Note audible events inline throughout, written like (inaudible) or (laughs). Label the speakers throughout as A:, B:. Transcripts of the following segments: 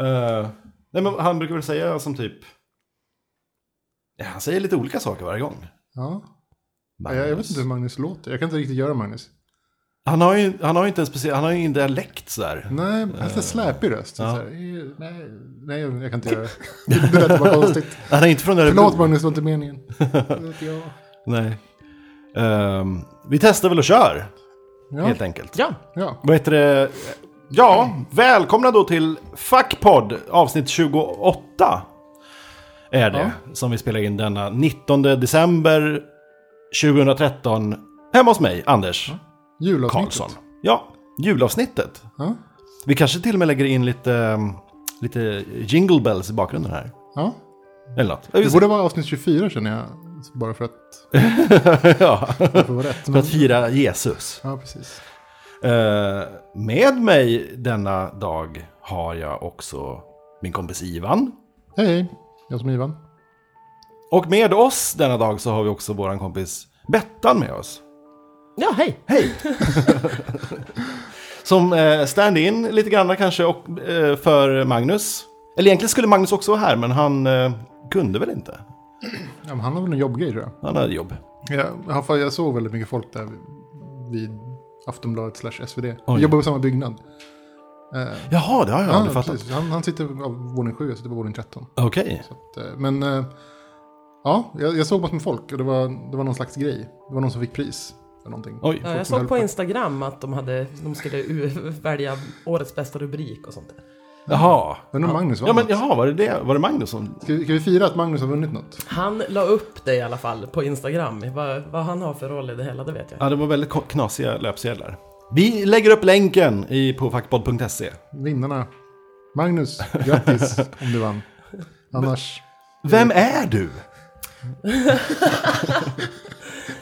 A: Eh, nej, men han brukar väl säga som typ... Ja, han säger lite olika saker varje gång.
B: Ja. Jag, jag vet inte hur Magnus låter. Jag kan inte riktigt göra Magnus.
A: Han har ju, han har ju inte en speciell, han har ju ingen dialekt sådär.
B: Nej, han har lite släpig röst. Så här, eh, nej, nej, jag kan inte göra
A: (laughs)
B: det. Det lät bara konstigt.
A: Han är inte från Örebro.
B: Förlåt Magnus, det var inte meningen.
A: (laughs)
B: Det vet jag.
A: Nej. Ehm, vi testar väl och kör,
B: Ja,
A: helt enkelt.
C: Ja,
B: ja.
A: Vad heter det? Ja, välkomna då till Fackpodd, avsnitt 28. Är det, som vi spelar in denna 19 december 2013. Hemma hos mig, Anders
B: Julavsnittet.
A: Karlsson. Ja, julavsnittet.
B: Ja.
A: Vi kanske till och med lägger in lite, ehm, lite jingle bells i bakgrunden här.
B: ja.
A: Eller något.
B: Det borde vara avsnitt 24 känner jag. Bara
A: (laughs)
B: för att
A: ja,
B: få vara rätt.
A: för
B: Men,
A: att fira Jesus.
B: ja, precis.
A: Eh, med mig denna dag har jag också min kompis Ivan.
B: Hej, hej. Jag som är Ivan.
A: Och med oss denna dag så har vi också vår kompis Bettan med oss.
C: ja hej.
A: Hej! (laughs) Som eh, stand-in lite grann kanske och, eh, för Magnus. Eller egentligen skulle Magnus också vara här men han eh, kunde väl inte.
B: Ja, men han har väl en jobbgrej tror jag.
A: Han hade jobb.
B: Ja, i alla fall, jag såg väldigt mycket folk där vid Aftonbladet slash SvD.
A: Oj.
B: Vi jobbar på samma byggnad. Eh,
A: Jaha, det har jag aldrig fattat.
B: precis. Han, han sitter på våning 7, jag sitter på våning 13.
A: Okej.
B: Så att, eh, men eh, ja, jag, jag såg massor med folk och det var, det var någon slags grej. Det var någon som fick pris för någonting.
A: Oj.
C: Ja, jag såg på Instagram att de, hade, de skulle u- välja årets bästa rubrik och sånt där.
A: Jaha.
B: Undrar om Magnus vann
A: Ja, men
B: något.
A: jaha, var det det? Var det Magnus som...
B: ska, vi- ska vi fira att Magnus har vunnit något?
C: Han la upp det i alla fall på Instagram. Vad, vad han har för roll i det hela, det vet jag inte.
A: Ja, det var väldigt ko- knasiga löpsedlar. Vi lägger upp länken i, på fackpodd.se.
B: Vinnarna. Magnus,
A: (laughs)
B: grattis om du vann. Annars,
A: Vem är du?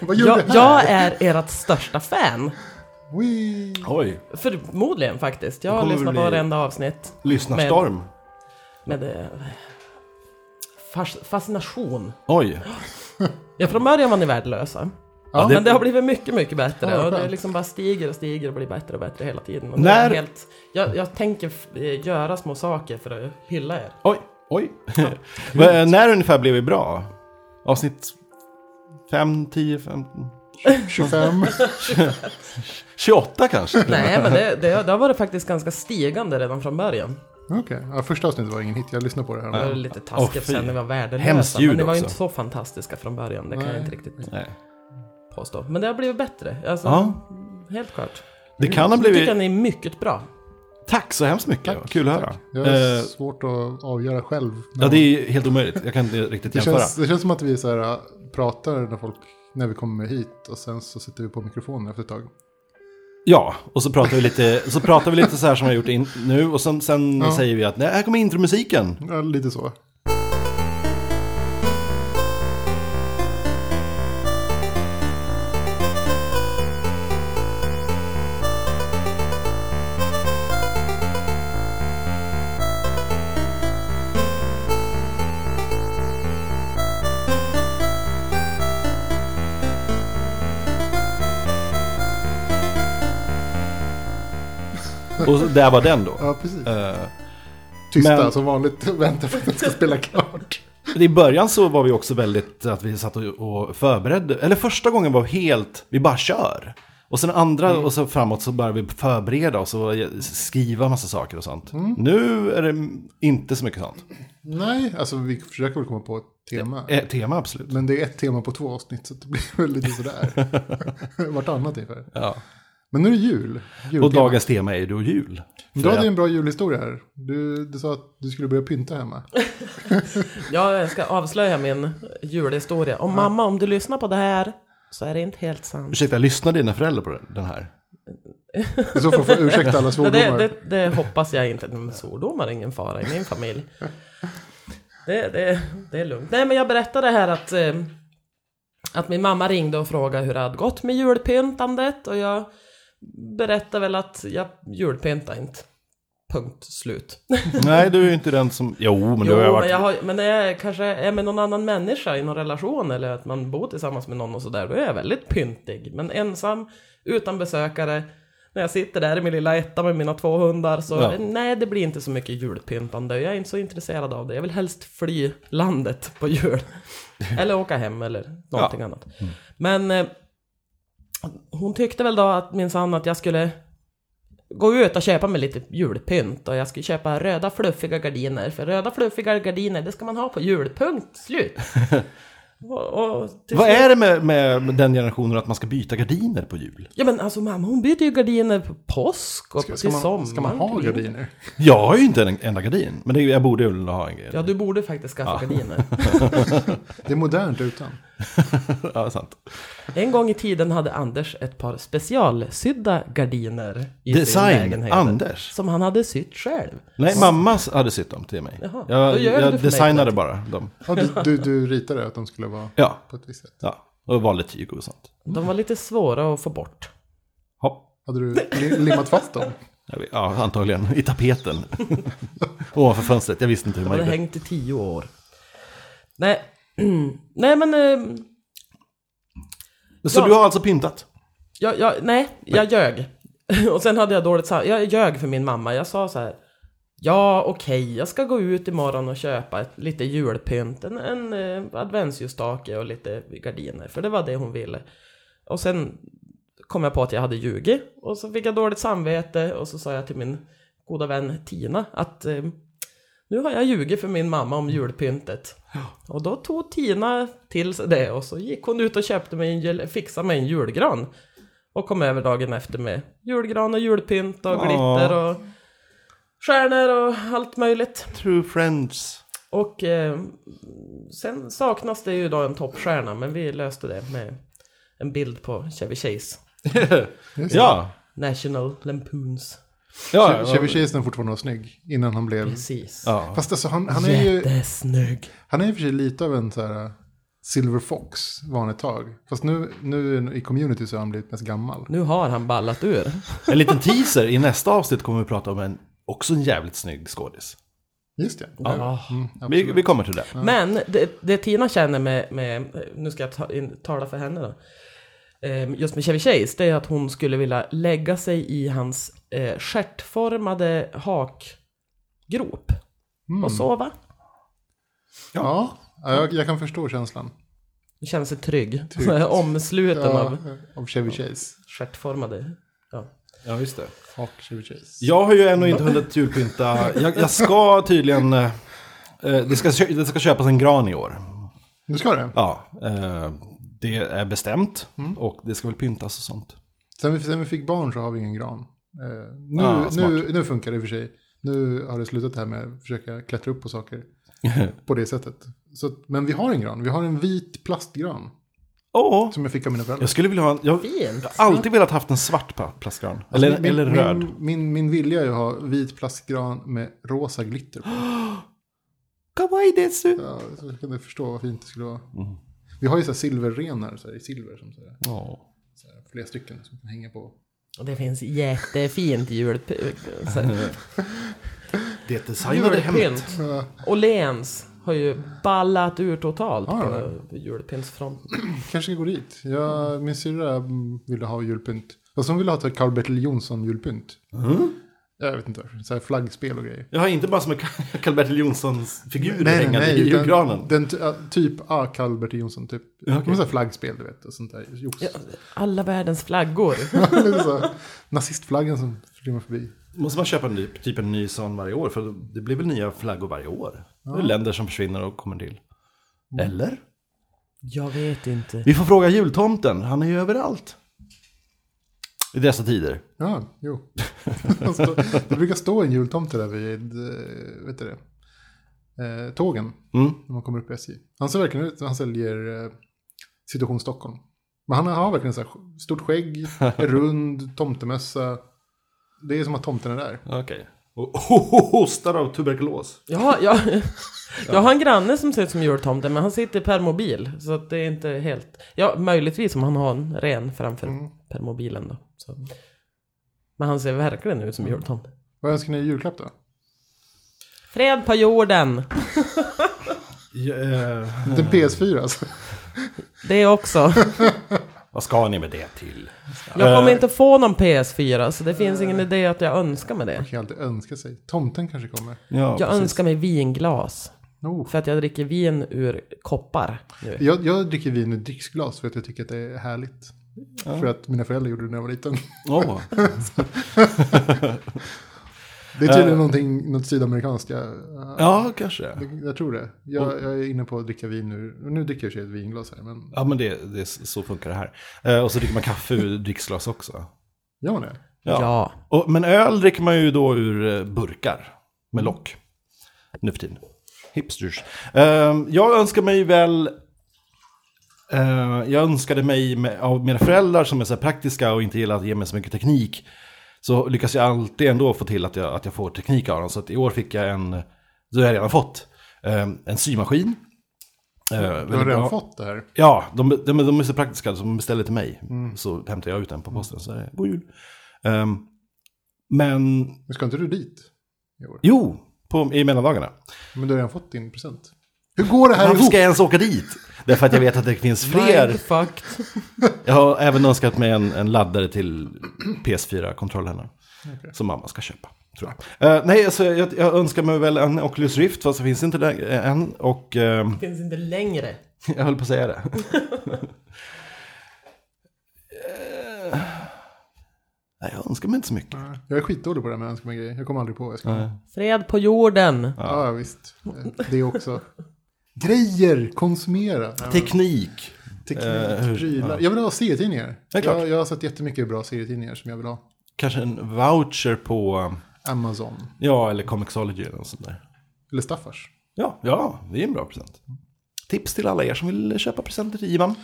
B: vad gör
C: Jag,
B: du här?
C: jag är ert största fan.
B: Wee.
A: Oj,
C: Förmodligen faktiskt. Jag
A: Det
C: har
A: kommer
C: lyssnat på
A: bli-
C: varenda avsnitt
A: lyssnarstorm.
C: med eh, fas, fascination.
A: Oj.
C: Ja, från början var ni värdelösa.
B: Ja,
C: Men det har blivit mycket, mycket bättre.
B: Ja, vad
C: och det
B: skönt.
C: liksom bara stiger och stiger och blir bättre och bättre hela tiden. Och
A: När-
C: det är helt, jag, jag tänker f- eh, göra små saker för att hylla er.
A: Oj,
B: (laughs)
A: oj. Men eh, När ungefär blev vi bra? Avsnitt 5, 10, 15, (laughs)
B: 25.
A: 28
B: (laughs)
A: kanske?
C: Nej, men det, det, det har varit faktiskt ganska stigande redan från början.
B: Okej, ja, första avsnittet var ingen hit. Jag lyssnade på det här.
C: Det var lite
A: Åh,
C: taskigt
A: fy.
C: sen, ni var
A: Hemskt
C: värdelösa.
A: ljud
C: Men ni var ju
A: också.
C: inte så fantastiska från början, det kan jag
B: Nej.
C: inte riktigt
A: Nej.
C: påstå. Men det har blivit bättre, alltså,
A: Ja,
C: helt klart.
A: det kan ha
C: Jag tycker att
A: blivit...
C: ni är mycket bra.
A: Tack så hemskt mycket, Vad kul att höra.
B: Jag har
A: Eh,
B: svårt att avgöra själv.
A: Ja, det är helt omöjligt. Jag kan inte riktigt
B: Det
A: jämföra.
B: känns, det känns som att vi så här, äh, pratar när, folk, när vi kommer hit och sen så sätter vi på mikrofonen efter ett tag.
A: Ja, och så pratar vi lite så, pratar vi lite så här som vi har gjort in, nu och sen, sen
B: Ja.
A: säger vi att nej, här kommer intromusiken.
B: Ja, lite så.
A: Och så- där var den då.
B: Ja, precis.
A: Eh,
B: Tysta
A: men-
B: som vanligt (laughs) och väntar på
A: (laughs)
B: att den ska spela klart.
A: I början så var vi också väldigt, att vi satt och, och förberedde, eller första gången var vi helt, vi bara kör. Och sen andra och så framåt så började vi förbereda oss och skriva massa saker och sånt. Nu är det inte så mycket sånt.
B: Nej, alltså vi försöker väl komma på ett tema.
A: Eh, tema absolut.
B: Men det är ett tema på två avsnitt så det (laughs) blir väl
A: (laughs)
B: lite sådär. Vartannat ungefär.
A: Ja.
B: Men nu är det jul.
A: Och
B: Jultema.
A: dagens eh, tema är ju då jul.
B: Du hade ju en bra julhistoria här. Du, du sa att du skulle börja pynta hemma.
C: Jag ska avslöja min julhistoria. Och mamma, om du lyssnar på det här så är det inte helt sant.
A: Ursäkta, lyssnar dina föräldrar på den här?
B: I så fall får jag
C: (laughs)
B: ursäkta alla
C: Det, det,
B: svordomar.
C: det, det hoppas jag inte. Men svordomar är ingen fara i min familj. Det, det, det är lugnt. Nej men jag berättade här att, eh, att min mamma ringde och frågade hur det hade gått med julpyntandet och jag berättade väl att jag julpyntar inte. Punkt slut.
A: Nej, du är ju inte den som... Jo, men
C: Jo,
A: du har ju
C: men,
A: varit...
C: jag har, men när jag kanske är med någon annan människa i någon relation eller att man bor tillsammans med någon och sådär, då är jag väldigt pyntig. Men ensam, utan besökare, När jag sitter där i min lilla etta med mina två hundar så
A: Ja.
C: nej, det blir inte så mycket julpyntande. Jag är inte så intresserad av det. Jag vill helst fly landet
A: (laughs)
C: på jul. eller åka hem eller någonting annat.
A: Mm.
C: Men eh, hon tyckte väl då att minsann att jag skulle gå ut och köpa mig lite julpynt och jag skulle köpa röda fluffiga gardiner för röda fluffiga gardiner det ska man ha på
B: (laughs)
C: julpunkt slut. och, och till
A: Vad
C: slut-
A: är det med, med den generationen att man ska byta gardiner på jul?
C: Ja men alltså mamma hon byter ju gardiner på påsk och
B: Ska, ska,
C: till
B: man,
C: sommaren. Mm.
B: ska man ha gardiner?
A: Jag har ju inte en enda gardin, men det, jag borde väl ha en gardin.
C: Ja du borde faktiskt skaffa gardiner.
B: (laughs) Det är modernt utan.
A: Ja, sant.
C: En gång i tiden hade Anders ett par specialsydda gardiner i sin
A: Design,
C: lägenhet.
A: Anders.
C: Som han hade sytt själv.
A: Nej, mamma hade sytt dem till mig.
C: Jaha, då
A: jag
C: gör du det
A: jag
C: för mig
A: designade
C: plötsligt.
A: bara dem.
B: Ja, du, du, du ritade att de skulle vara
A: Ja,
B: på ett visst sätt.
A: ja. och vanligt tyg och sånt.
C: De var lite svåra att få bort.
A: Hopp.
B: Hade du li- limmat fast dem?
A: Jag vet- Ja, antagligen. I tapeten. (laughs) Ovanför fönstret. Jag visste inte hur
C: De
A: man
C: hade
A: gjorde.
C: hängt i tio år. Nej, (clears throat) nej men... eh,
A: Så
C: Ja.
A: du har alltså pyntat?
C: Jag, jag, nej, jag ljög. (laughs) Och sen hade jag dåligt samvete. Jag ljög för min mamma. Jag sa så här. Ja, okej, jag ska gå ut imorgon och köpa ett, lite julpynt. En, en eh, adventsljusstake och lite gardiner. För det var det hon ville. Och sen kom jag på att jag hade ljugit. Och så fick jag dåligt samvete. Och så sa jag till min goda vän Tina att eh, nu har jag ljugit för min mamma om julpyntet. Och då tog Tina till sig det och så gick hon ut och köpte mig en, jul- fixade mig en julgran. Och kom över dagen efter med julgran och julpynt och
A: Ja.
C: glitter och stjärnor och allt möjligt.
A: True friends.
C: Och eh, sen saknas det ju då en toppstjärna men vi löste det med en bild på Chevy Chase.
A: (laughs) ja.
C: National Lampoons.
A: Ja,
B: Chevy Chase är fortfarande var snygg innan han blev...
C: Precis.
A: ja.
B: Fast alltså han, han är ju...
C: Jättesnygg.
B: Han är i och för sig lite av en så här uh, Silver Fox var han ett tag. Fast nu, nu i community så har han blivit mest gammal.
C: Nu har han ballat ur.
A: En liten teaser. I nästa avsnitt kommer vi prata om en, också en jävligt snygg skådis.
B: Just det.
C: Ja.
B: Mm,
A: Vi,
B: absolut.
A: vi kommer till det.
C: Men det, det Tina känner med, med nu ska jag ta, in, tala för henne då, Ehm, just med Chevy Chase, det är att hon skulle vilja lägga sig i hans eh, stjärtformade hakgrop och sova.
B: ja. ja jag, jag kan förstå känslan.
C: Hon känner sig trygg,
B: Tryggt.
C: omsluten
B: Ja,
C: av
B: av Chevy Chase.
C: stjärtformade. Ja.
A: Ja, just det.
B: Och Chevy Chase.
A: Jag har ju ännu inte hunnit julpynta. Jag, jag ska tydligen... eh, eh, Det ska, kö- det ska köpas en gran i år.
B: Nu ska det.
A: Ja, eh, det är bestämt.
B: Mm.
A: Och det ska väl pyntas och sånt.
B: Sen vi, sen vi fick barn så har vi ingen gran. Eh, nu,
A: Ah, smart.
B: nu, nu funkar det i och för sig. Nu har det slutat det här med att försöka klättra upp
A: (laughs)
B: på saker på det sättet. Så, att- men vi har en gran. Vi har en vit plastgran
A: Åh!
B: som jag fick av mina föräldrar.
A: Jag skulle vilja ha en... Jag,
C: Fint.
A: jag har alltid velat haft en svart pa- plastgran. Eller,
B: Alltså, Min- min-
A: eller röd.
B: Min, min, min vilja är att ha vit plastgran med rosa glitter på.
A: Kawaii desu!
B: Ja, så kan du förstå vad fint det skulle vara.
A: Mm.
B: Vi har ju så här silverrenar så här, i silver, som så här,
A: Ja.
B: så här, flera stycken som kan hänga på.
C: Och det finns jättefint julpynt. så här,
A: Det designade hemmet.
C: Julpynt.
B: Ja,
C: Åhléns har ju ballat ur totalt
B: Ja, ja,
C: på julpyntsfronten.
B: kanske ska gå dit. Jag, min syrra mm, ville ha julpynt. Fast hon ville ha ett Carl-Bertil Jonsson-julpynt.
A: Mm.
B: Jag vet inte varför. Så här flaggspel och grejer.
A: Jag har inte bara som en (laughs) Karl-Bertil Jonssons-figur
B: Nej, nej,
A: hängande
B: nej.
A: i
B: utan
A: julgranen.
B: Den, ty- ja, typ ah, Carl-Bertil Jonsson, typ.
A: Ja,
B: Men
A: okej.
B: så här flaggspel, du vet. Och sånt där. jox. (laughs)
C: Ja, alla världens flaggor.
B: Lite så här, nazistflaggan som flyger förbi.
A: Måste man köpa en ny, typ en ny sån varje år? För det blir väl nya flaggor varje år? Det är länder som försvinner och kommer till.
B: Mm.
A: Eller?
C: (laughs) Jag vet inte.
A: Vi får fråga jultomten, han är ju överallt. I dessa tider.
B: Ja,
A: (laughs)
B: jo. Alltså, det brukar stå en jultomte där vid, eh, vet du det, eh, tågen.
A: Mm.
B: När man kommer upp i SJ. Han ser verkligen ut, han säljer eh, Situation Stockholm. Men han har verkligen så här stort
A: (laughs)
B: skägg, är rund, tomtemössa. Det är som att tomten är där.
A: Okej. Och (laughs) hostar av tuberkulos.
C: Ja, jag, jag har en granne som ser ut som jultomten men han sitter per mobil så att det är inte helt... Ja, möjligtvis om han har en ren framför
A: Mm.
C: permobilen då. Så. Men han ser verkligen ut
A: Mm.
C: som jultomten.
B: Vad önskar ni i julklapp då?
C: Fred på jorden!
A: Ja, eh,
B: eh. Inte en PS4 alltså.
C: Det också.
A: Vad ska ni med det till?
C: Jag kommer
A: Eh.
C: inte få någon PS4 så det finns ingen idé att jag önskar mig det.
B: Man kan ju alltid önska sig. Tomten kanske kommer.
A: Ja,
C: Jag
A: precis.
C: önskar mig vinglas.
B: No.
C: För att jag dricker vin ur koppar nu.
B: Jag, jag dricker vin ur dricksglas för att jag tycker att det är härligt. För att mina föräldrar gjorde det när jag var liten.
A: Åh.
B: Det är tydligen någonting, något sydamerikanskt. Jag,
A: Ja, kanske.
B: jag tror det. Jag, jag är inne på att dricka vin nu. Nu dricker jag i och för sig ett vinglas här. Men
A: Ja, men det, det, så funkar det här. Eh, och så dricker man kaffe ur dricksglas också.
B: gör man det?
A: Ja.
C: Ja.
A: Och, men öl dricker man ju då ur eh, burkar med
B: Mm.
A: lock. Nu för tiden. Hipsters. Ehm, jag önskar mig väl... eh, jag önskade mig med, av mina föräldrar som är så här praktiska och inte gillar att ge mig så mycket teknik. Så lyckas jag alltid ändå få till att jag, att jag får teknik av dem. Så att i år fick jag en, det har jag redan fått, ehm, en symaskin. Eh,
B: Du har
A: väldigt
B: redan
A: bra.
B: fått det här.
A: Ja, de, de, de är så praktiska så de beställer till mig. Så hämtar jag ut den på posten. Så är det god jul. Ehm, men,
B: Men ska inte du dit? i år?
A: jo, på, i mellandagarna.
B: Men du har redan fått din present. Hur går det här
A: Varför
B: ihop?
A: ska jag ens åka dit? Därför att jag vet att det finns fler.
C: Mind fucked.
A: Jag har även önskat mig en, en laddare till PS4-kontrollerna. Som mamma ska köpa, tror jag. Eh, nej, alltså, jag, jag önskar mig väl en Oculus Rift, fast det finns inte den än. Och... ehm,
C: Det finns inte längre.
A: (laughs) Jag höll på att säga det. Eh, Nej, jag önskar mig inte så mycket.
B: Jag är skitdålig på det här med att önska mig grejer. Jag kommer aldrig på vad jag ska
A: Nej.
C: Fred på jorden.
B: Ja, visst. Eh, Det är också. Grejer, konsumera.
A: Teknik. Eh, hur-
B: Teknik, prylar. Jag vill ha serietidningar.
A: Det är klart.
B: Jag, jag har sett jättemycket bra serietidningar som jag vill ha.
A: Kanske en voucher på,
B: Amazon.
A: ja, eller Comixology eller något sånt där.
B: Eller Staffars.
A: Ja, ja, det är en bra present. Tips till alla er som vill köpa presenter till Ivan.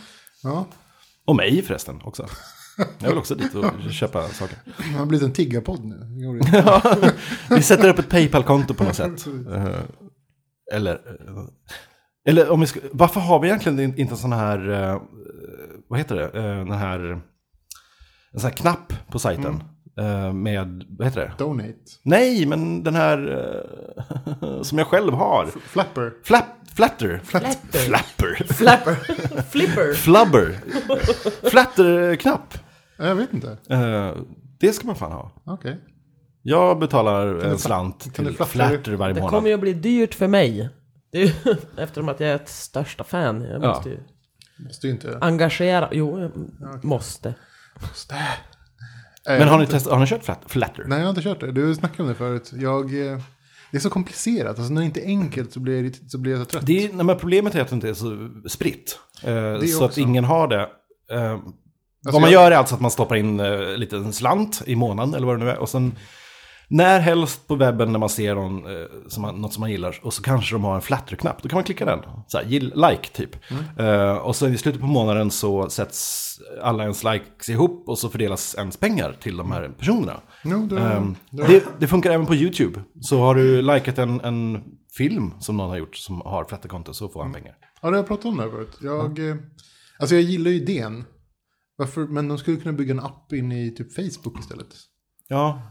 B: Ja,
A: Och mig förresten också. Jag vill också dit och köpa saker.
B: det har blivit en tiggarpodd nu. Det
A: (laughs)
B: går inte.
A: Ja, vi sätter upp ett Paypal-konto på något
B: (laughs)
A: sätt. Eh, Eller, eh, eller om vi ska, varför har vi egentligen in- inte en sån här, eh, vad heter det, Eh, den här, en sån här knapp på sajten eh, med, vad heter det?
B: Donate.
A: Nej, men den här eh, (laughs) som jag själv har.
B: Flapper.
A: Flap, flatter.
C: Flatter.
A: Flapper.
C: Flapper. (laughs) Flipper.
A: Flubber. Flatter-knapp.
B: Ja, Jag vet inte.
A: Eh, Det ska man fan ha.
B: Okej.
A: Jag betalar
B: du
A: en
B: fla-
A: slant
B: kan du
A: till
B: flatter-
A: Flatter varje
C: Det
A: månad.
C: kommer ju att bli dyrt för mig. Det är ju, (laughs) eftersom att jag är ett största fan. Jag
A: Ja.
C: måste ju
B: Måste ju
C: Ah.
B: inte...
C: engagera. Jo, jag måste.
B: Måste. Nej,
A: Men
B: jag
A: har ni,
B: vet inte.
A: testat, har ni kört flat, Flatter?
B: Eh, Nej, jag har inte kört det. Du snackade om det förut. Jag... eh, Det är så komplicerat. Alltså när det inte är enkelt så blir jag, irrit- så blir jag så trött.
A: Det är, nej, men problemet är att det inte är så spritt. Eh, så att
B: också.
A: ingen har det. Eh, vad
B: Alltså,
A: man
B: jag-
A: gör är alltså att man stoppar in eh, lite en slant i månaden eller vad det nu är. Och sen när helst på webben när man ser någon, eh, som man, något som man gillar och så kanske de har en flatterknapp. Då kan man klicka den. Så här, gill, like typ.
B: Mm.
A: Eh, och så i slutet på månaden så sätts alla ens likes ihop och så fördelas ens pengar till de här personerna.
B: Jo, det,
A: Ehm,
B: det,
A: det, det funkar även på YouTube. Så har du likat en, en film som någon har gjort som har flatterkonto så får han pengar.
B: Ja, det har jag pratat om det här förut. Jag, eh, alltså jag gillar ju idén. Varför? Men de skulle kunna bygga en app in i typ Facebook istället.
A: Ja,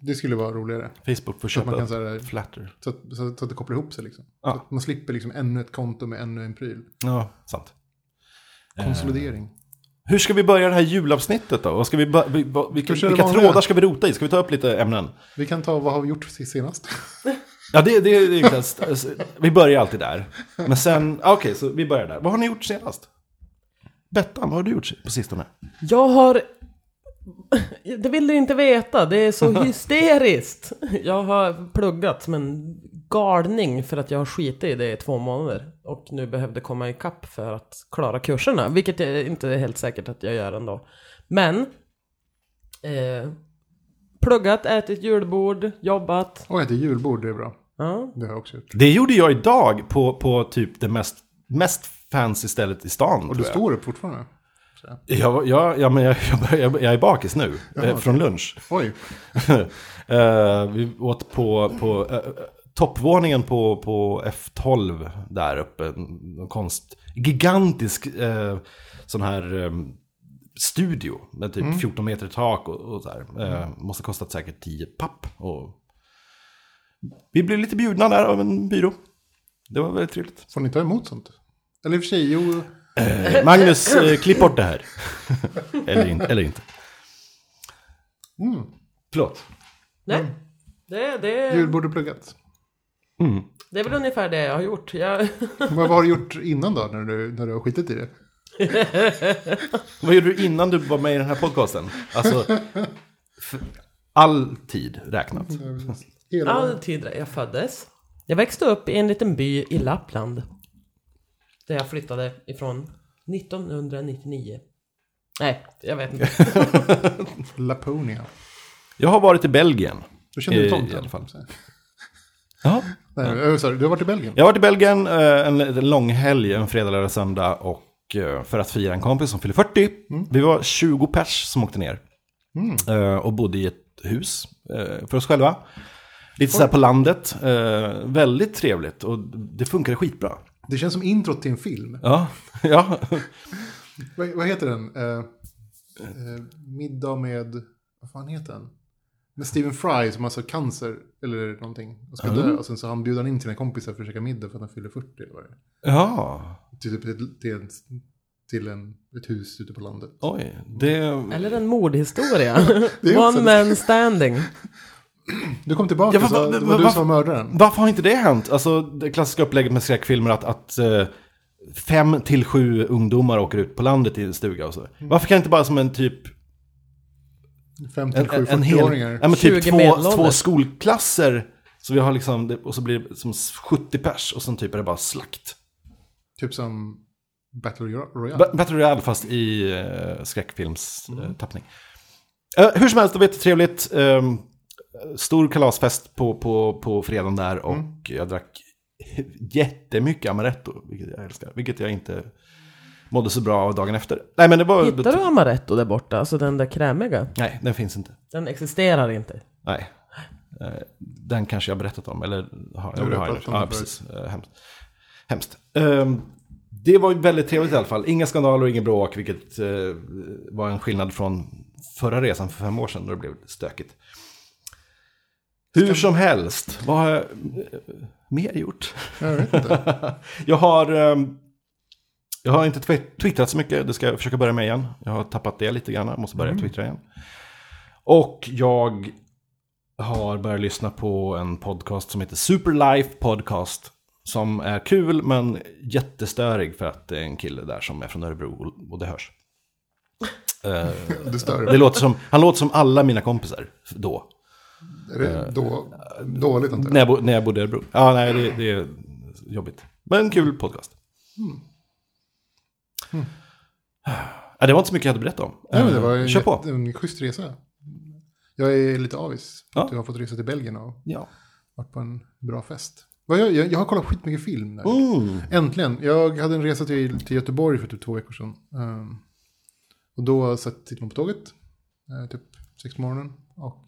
B: Det skulle vara roligare.
A: Facebook får
B: Så
A: köpa
B: att, man kan,
A: upp
B: så, här,
A: flatter.
B: så, att, så, att, så att det kopplar ihop sig liksom.
A: Ja.
B: Så att man slipper liksom ännu ett konto med ännu en pryl.
A: Ja, sant. Ehm.
B: Konsolidering.
A: Hur ska vi börja det här julavsnittet då? Vad Ska vi, bör- vi- vad- vilka
B: köra
A: vilka
B: vanliga?
A: trådar ska vi rota i? Ska vi ta upp lite ämnen?
B: Vi kan ta vad har vi gjort se- senast? (laughs)
A: Ja, det, det, det är inte ens- alltså, Vi börjar alltid där. Men sen, ah, okej, så vi börjar där. Vad har ni gjort senast? Bettan, vad har du gjort på sistone?
C: Jag har... Det vill du inte veta, det är så hysteriskt! Jag har pluggat som en galning för att jag har skitit i det i två månader. Och nu behövde komma ikapp för att klara kurserna, vilket jag inte är helt säkert att jag gör ändå. Men... Eh, pluggat, ätit julbord, jobbat.
B: Och äter julbord, det är bra.
C: Ja.
B: Det har jag också gjort.
A: Det gjorde jag idag på, på typ det mest, mest fancy stället i stan.
B: Och
A: tror
B: du
A: jag.
B: står upp fortfarande?
A: Jag, jag, ja, men jag, jag, börjar- jag, jag är bakis nu, eh, från lunch. (laughs)
B: Oj,
A: Eh, vi åt på, på eh, eh, toppvåningen på, på F12 där uppe. en- en Konst, gigantisk eh, sån här eh, studio med typ 14 meter i tak och, och så här. Eh, måste kostat säkert 10 papp. Och... Vi blev lite bjudna där av en byrå. Det var väldigt trevligt.
B: får ni ta emot sånt? Eller i och för sig, jo,
A: Eh, Magnus, eh, klipp bort det här. (laughs) eller, in, eller inte.
B: Mm.
A: Förlåt.
C: Nej. Det, det,
B: Julbord och pluggat.
A: Mm.
C: det är väl ungefär det jag har gjort. Jag,
B: Men vad har du gjort innan då, när du, när du har skitit i det?
A: Vad gjorde du innan du var med i den här podcasten? Alltså, för all tid räknat.
B: Hela
C: all tid jag föddes. Jag växte upp i en liten by i Lappland. Där jag flyttade ifrån 1999. Nej, jag vet inte.
B: Laponia.
A: Jag har varit i Belgien.
B: Då kände du
A: Eh,
B: tomten.
A: i alla fall. Ja.
B: Nej, jag sa, du har varit i Belgien?
A: Jag har varit i Belgien eh, en, en lång helg, en fredag, lördag, söndag. Och eh, för att fira en kompis som fyller 40. Vi var 20 pers som åkte ner. Eh, Och bodde i ett hus eh, för oss själva. Lite så här på landet. Eh, Väldigt trevligt och det funkade skitbra.
B: Det känns som introt till en film.
A: Ja, (laughs) ja.
B: Vad, vad heter den? Eh, eh, middag med... Vad fan heter den? Med Stephen Fry som har alltså cancer eller någonting. Och ska dö. Och sen så han bjuder han in sina kompisar för att käka middag för att han fyller 40 eller vad det är.
A: ja.
B: Till, till, till, en, till en, ett hus ute på landet.
A: Oj, det...
C: Eller en mordhistoria.
B: är också
C: One man standing.
B: Du kom tillbaka
A: Ja, va-
B: så
A: va-
B: det var
A: va-
B: du som var mördaren.
A: Varför har inte det hänt? Alltså det klassiska upplägget med skräckfilmer att, att eh, fem till sju ungdomar åker ut på landet i en stuga och så. Varför kan inte bara som en typ...
B: Fem till
A: En,
B: sju
A: en, en hel...
B: 40-åringar.
A: Ja, men typ
C: 20
A: två,
C: medelålders.
A: två skolklasser. Så vi har liksom, det- och så blir det som 70 pers och sen typ är det bara slakt.
B: Typ som Battle Royale.
A: Ba- Battle Royale fast i eh, skräckfilmstappning. Eh, hur som helst, det var jättetrevligt. Um, stor kalasfest på, på, på fredagen där och jag drack jättemycket amaretto, vilket jag älskar. Vilket jag inte mådde så bra av dagen efter. Nej, men det var...
C: Hittar du Amaretto där borta? Alltså den där krämiga?
A: Nej, den finns inte.
C: Den existerar inte.
A: Nej. Eh, Den kanske jag har berättat om, eller har
B: har
A: jag? Det har jag
B: pratat
A: nu.
B: om
A: Ja,
B: den
A: precis. Eh, Hemskt. Hemskt. Ehm, Det var ju väldigt trevligt i alla fall. Inga skandaler och ingen bråk, vilket eh, var en skillnad från förra resan för fem år sedan då det blev stökigt. Hur som helst, vad har jag eh, mer gjort?
B: Jag vet inte.
A: (laughs) Jag har, ehm, jag har inte twitt- twittrat så mycket, det ska jag försöka börja med igen. Jag har tappat det lite grann, jag måste börja twittra igen. Och jag har börjat lyssna på en podcast som heter Superlife Podcast. Som är kul men jättestörig för att det är en kille där som är från Örebro och- och det hörs. Eh,
B: Du stör.
A: det låter som, han låter som alla mina kompisar då. (laughs)
B: Är det då, dåligt antar jag?
A: När jag, bo, när jag bodde i Örebro. Ja, nej, det, det är jobbigt. Men kul podcast.
B: Hmm.
A: Ja, det var inte så mycket jag hade berättat om.
B: Nej, men det var en,
A: Kör på.
B: jätte- en schysst resa. Jag är lite avis
A: Ja.
B: att du har fått resa till Belgien och
A: Ja.
B: varit på en bra fest. Vad Jag, jag, jag har kollat skitmycket film. Där.
A: Mm.
B: Äntligen. Jag hade en resa till, till Göteborg för typ två veckor sedan. Ehm, och då satt tittade man på tåget, eh, typ sex på morgonen. Och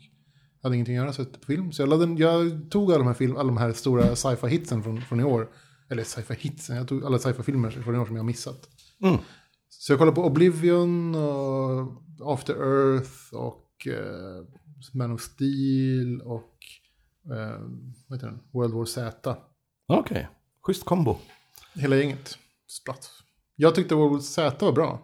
B: hade ingenting att göra, så jag tittade på film. Så jag, laddade, jag tog alla de här, film, alla de här stora sci-fi hitsen från, från i år. Eller sci-fi hitsen, jag tog alla sci-fi filmer från i år som jag har missat.
A: Mm.
B: Så jag kollade på Oblivion och After Earth och eh, Man of Steel och eh, vad heter den? World War Z.
A: Okej, schysst kombo.
B: Hela gänget. Spratt. Jag tyckte World Z var bra.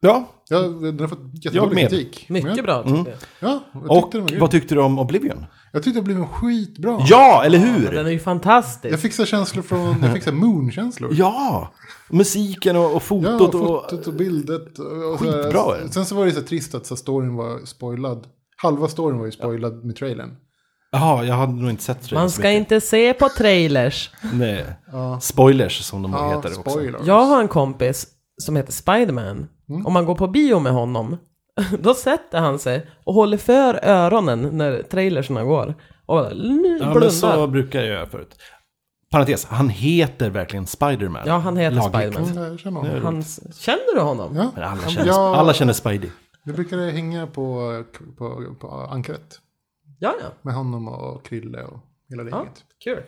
A: Ja,
B: Jag, den har fått
A: Jag
B: jättedålig
A: med.
B: kritik. Men
C: Mycket
B: jag,
C: bra tycker jag.
B: Ja, jag
A: och
B: tyckte, den var,
A: vad tyckte du om Oblivion?
B: jag tyckte det blev en skitbra.
A: Ja, eller
C: Men Den
A: hur?
C: är ju fantastisk.
B: Jag fick så här känslor från, jag fick så här moon-känslor.
A: Ja, musiken och, och
B: Ja,
A: fotot och...
B: fotot och bildet. Och, och så här.
A: Skitbra är den.
B: Sen så var det så här trist att så här storyn var spoilad. Halva storyn var ju spoilad med trailern.
A: Jaha, jag hade nog inte sett trailern
C: Man
A: så
C: ska
A: mycket.
C: inte se på trailers.
A: Nej. Spoilers som de
B: Ja,
A: heter också.
B: spoilers.
C: Jag har en kompis som heter Spiderman.
A: Mm.
C: Om man går på bio med honom, (laughs) då sätter han sig och håller för öronen när trailersna går. Och
A: Ja,
C: blundar.
A: men så brukar jag göra förut. Parentes, han heter verkligen Spiderman.
C: Ja, han heter
A: Lagligt.
C: Spiderman.
B: Ja, jag känner honom.
C: Hans... Känner du honom?
B: Ja.
A: Men alla känner,
B: Ja.
A: alla känner Spidey.
B: Vi brukade hänga på, på, på ankaret.
C: Ja, ja.
B: Med honom och Krille och hela det
C: ja
B: gänget.
C: kul.